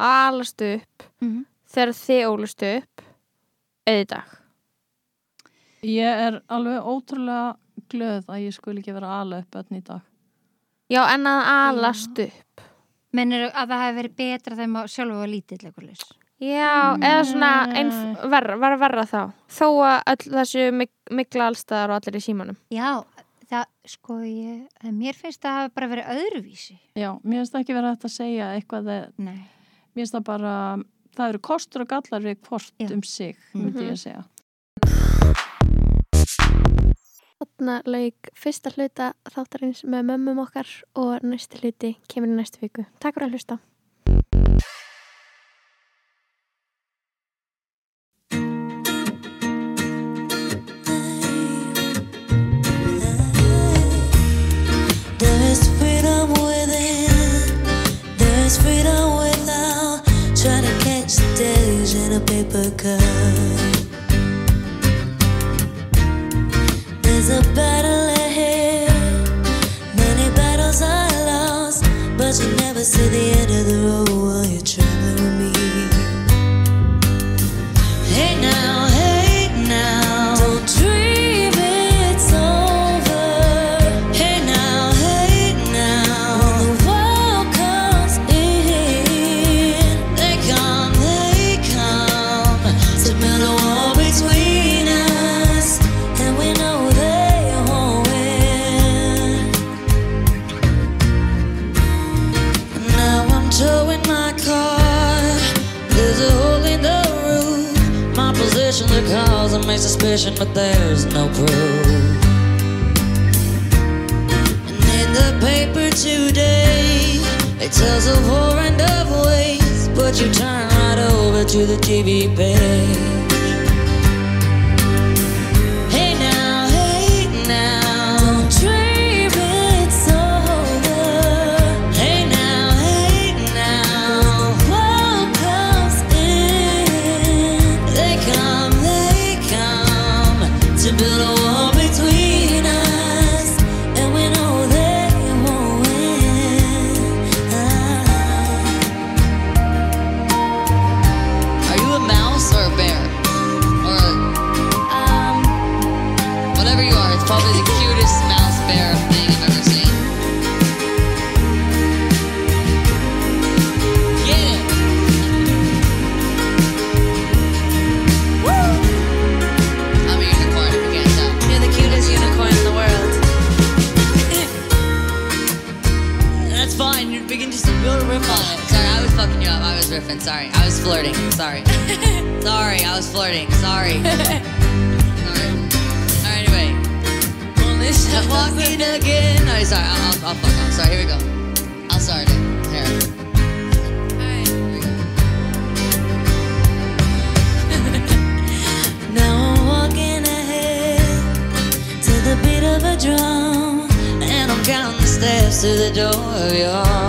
alast upp
Mhm.
þegar þið ólust upp eða í dag.
Ég er alveg ótrúlega glöð að ég skuli ekki vera ala upp öll í dag.
Já, en að alast upp.
Mennir að það hefur verið betra þegar maður sjálfur var lítill eitthvað laus.
Já, eða svona einf, verra, var verra þá. Þó að öll þessu mik mikla allstæðar og allir í símanum.
Já, það, sko, ég, að mér finnst það hafa bara verið öðruvísi.
Já, mér finnst ekki verið hægt að segja eitthvað að
Nei.
mér finnst það bara, það eru
Mhm.
um kostur og gallar við hvort
Já.
um sig, myndi ég að segja.
þarna lauk fyrsta hluta þáttarins með mömmum okkar og næsti hluti kemur í næstu viku. Takk fyrir að hlusta.
There's freedom within, there's freedom without. Trying to catch days in a paper cup. There's a battle ahead, many battles are lost, but you never see the end of the road while you're traveling with me. Hey now, hey now, don't dream it's over. Hey now, hey now, when the world comes in, they come, they come to build a wall between us, and we know they won't win. Now I'm towing my car. There's a hole in the roof. My position the cause of my suspicion, but there's no proof. And in the paper today, it tells of horror and of ways, but you turn right over to the TV page. Hey now, hey now, don't dream it's over. Hey now, hey now, world comes in. They come, they come to build a wall between us, and we know they won't win. Ah.
Are you a mouse or a bear? Or a,
Um,
whatever you are, it's probably the cutest mouse bear thing I've ever seen. Get it! Woo! I'm a unicorn if you can't tell.
You're the cutest unicorn in the world.
That's fine, you're beginning to build a riff on it. Sorry, I was fucking you up. I was riffing, sorry. I was flirting, sorry. sorry, I was flirting, sorry. sorry. Alright, anyway. I'm walking again. Oh, sorry, I'll, I'll, I'll fuck off. Sorry, here we go. I'll start it. Here. Alright, here we go.
Now I'm walking ahead to the beat of a drum, and I'm counting the steps to the door of your